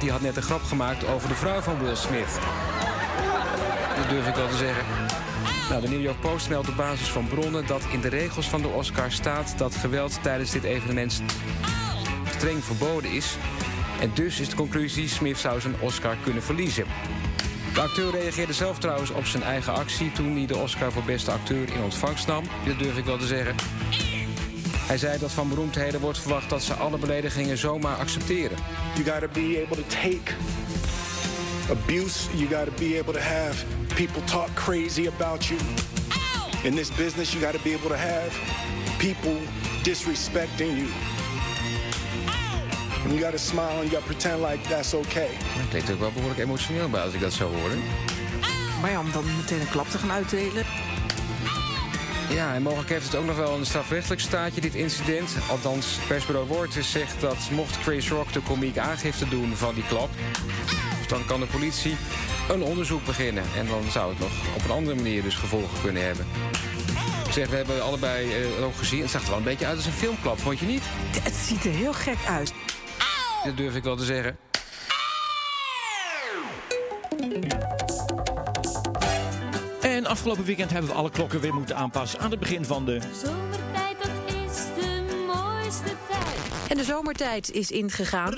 Speaker 18: Die had net een grap gemaakt over de vrouw van Will Smith. Dat durf ik wel te zeggen. Nou, de New York Post meldt op basis van bronnen dat in de regels van de Oscar staat dat geweld tijdens dit evenement streng verboden is. En dus is de conclusie: Smith zou zijn Oscar kunnen verliezen. De acteur reageerde zelf trouwens op zijn eigen actie toen hij de Oscar voor beste acteur in ontvangst nam. Dat durf ik wel te zeggen. Hij zei dat van beroemdheden wordt verwacht dat ze alle beledigingen zomaar accepteren.
Speaker 6: You gotta be able to take abuse. You gotta be able to have people talk crazy about you. In this business, you gotta be able to have people disrespecting you. And you gotta smile and you gotta pretend like that's okay.
Speaker 18: Dat klinkt ook wel behoorlijk emotioneel bij als ik dat zo hoor.
Speaker 30: Maar ja, om dan meteen een klap te gaan uitdelen.
Speaker 18: Ja, en mogelijk heeft het ook nog wel een strafrechtelijk staatje, dit incident. Althans, persbureau Woordjes zegt dat mocht Chris Rock de komiek aangifte doen van die klap... dan kan de politie een onderzoek beginnen. En dan zou het nog op een andere manier dus gevolgen kunnen hebben. Ik zeg, we hebben allebei eh, het ook gezien. Het zag er wel een beetje uit als een filmklap, vond je niet?
Speaker 34: Het ziet er heel gek uit.
Speaker 18: Dat durf ik wel te zeggen.
Speaker 2: En afgelopen weekend hebben we alle klokken weer moeten aanpassen aan het begin van de...
Speaker 14: Zomertijd, dat is de mooiste tijd.
Speaker 17: En de zomertijd is ingegaan.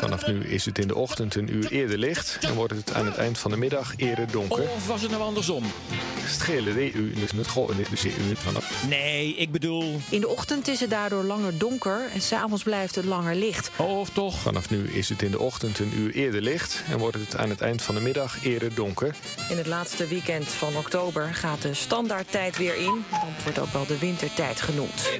Speaker 11: Vanaf nu is het in de ochtend een uur eerder licht en wordt het aan het eind van de middag eerder donker.
Speaker 2: Of was het nou andersom?
Speaker 11: Schelen de EU, dus het gewoon dus de EU vanaf.
Speaker 2: Nee, ik bedoel...
Speaker 17: In de ochtend is het daardoor langer donker en s'avonds blijft het langer licht.
Speaker 2: Of toch?
Speaker 11: Vanaf nu is het in de ochtend een uur eerder licht en wordt het aan het eind van de middag eerder donker.
Speaker 17: In het laatste weekend van oktober gaat de standaardtijd weer in. Dat wordt ook wel de wintertijd genoemd.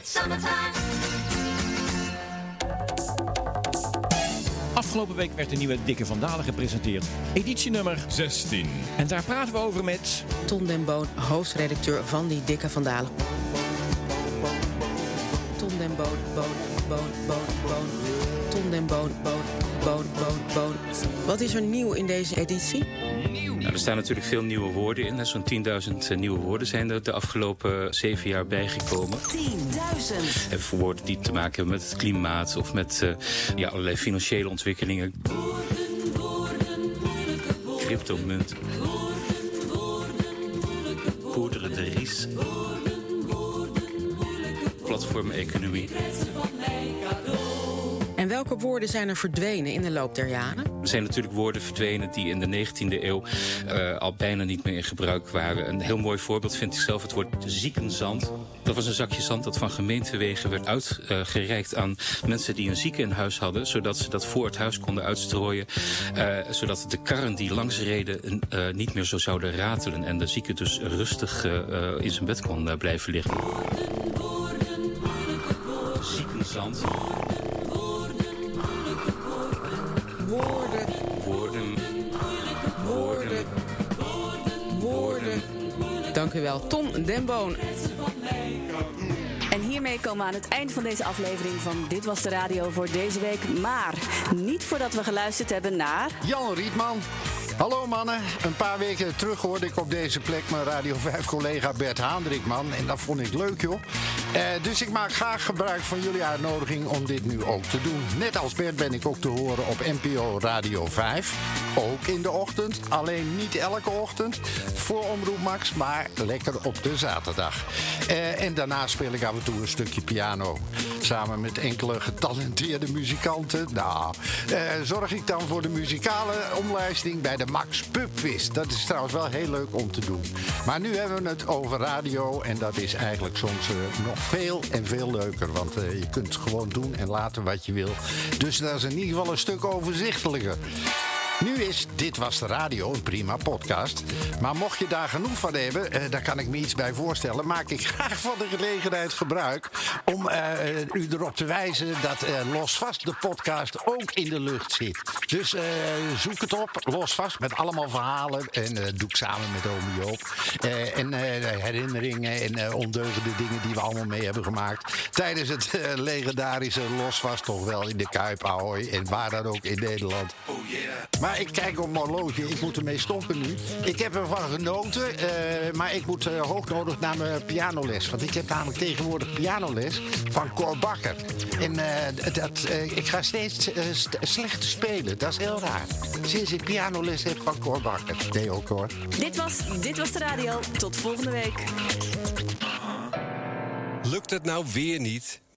Speaker 2: Afgelopen week werd de nieuwe Dikke Vandalen gepresenteerd. Editie nummer 16. En daar praten we over met...
Speaker 35: Ton den Boon, hoofdredacteur van die dikke Vandalen. Ton den Boon, Boon, Boon, Boon, Boon. Ton den Boon, Boon, Boon, Boon, Boon. Wat is er nieuw in deze editie?
Speaker 19: Nou, er staan natuurlijk veel nieuwe woorden in. hè. Zo'n 10.000 nieuwe woorden zijn er de afgelopen zeven jaar bijgekomen.
Speaker 35: 10.000.
Speaker 19: En voor woorden die te maken hebben met het klimaat of met eh, ja, allerlei financiële ontwikkelingen. Cryptomunt. Poederen de ries. Platformeconomie.
Speaker 35: En welke woorden zijn er verdwenen in de loop der jaren?
Speaker 19: Er zijn natuurlijk woorden verdwenen die in de 19e eeuw eh, al bijna niet meer in gebruik waren. Een heel mooi voorbeeld vind ik zelf het woord ziekenzand. Dat was een zakje zand dat van gemeentewegen werd uitgereikt aan mensen die een zieke in huis hadden. Zodat ze dat voor het huis konden uitstrooien. eh, zodat de karren die langs reden eh, niet meer zo zouden ratelen. En de zieke dus rustig eh, eh, in zijn bed kon eh, blijven liggen. Ziekenzand.
Speaker 35: Woorden,
Speaker 19: Woorden.
Speaker 35: woorden, woorden. Dank u wel, Ton den Boon.
Speaker 30: En hiermee komen we aan het eind van deze aflevering van Dit Was de Radio voor deze week. Maar niet voordat we geluisterd hebben naar.
Speaker 22: Jan Rietman. Hallo mannen, een paar weken terug hoorde ik op deze plek mijn Radio 5 collega Bert Haandrikman. En dat vond ik leuk joh. Eh, dus ik maak graag gebruik van jullie uitnodiging om dit nu ook te doen. Net als Bert ben ik ook te horen op NPO Radio 5. Ook in de ochtend, alleen niet elke ochtend. Voor Omroep Max, maar lekker op de zaterdag. Eh, en daarna speel ik af en toe een stukje piano. Samen met enkele getalenteerde muzikanten. Nou, eh, zorg ik dan voor de muzikale omlijsting bij de Max Pubquiz. Dat is trouwens wel heel leuk om te doen. Maar nu hebben we het over radio. En dat is eigenlijk soms eh, nog veel en veel leuker. Want eh, je kunt gewoon doen en laten wat je wil. Dus dat is in ieder geval een stuk overzichtelijker. Nu is Dit Was de Radio een prima podcast. Maar mocht je daar genoeg van hebben, eh, daar kan ik me iets bij voorstellen. Maak ik graag van de gelegenheid gebruik om eh, eh, u erop te wijzen dat eh, Losvast de podcast ook in de lucht zit. Dus eh, zoek het op, Losvast, met allemaal verhalen. En eh, doe ik samen met Omi Joop. Eh, en eh, herinneringen en eh, ondeugende dingen die we allemaal mee hebben gemaakt. Tijdens het eh, legendarische Losvast toch wel in de Kuip, Ahoy. En waar dan ook in Nederland. Maar ik kijk op mijn horloge, ik moet ermee stoppen nu. Ik heb ervan genoten, eh, maar ik moet eh, hoognodig naar mijn pianoles. Want ik heb namelijk tegenwoordig pianoles van Cor Bakker. En eh, dat, eh, ik ga steeds eh, st- slechter spelen, dat is heel raar. Sinds ik pianoles heb van Cor Bakker. Nee ook hoor.
Speaker 30: Dit was, dit was de radio. Tot volgende week. Lukt het nou weer niet?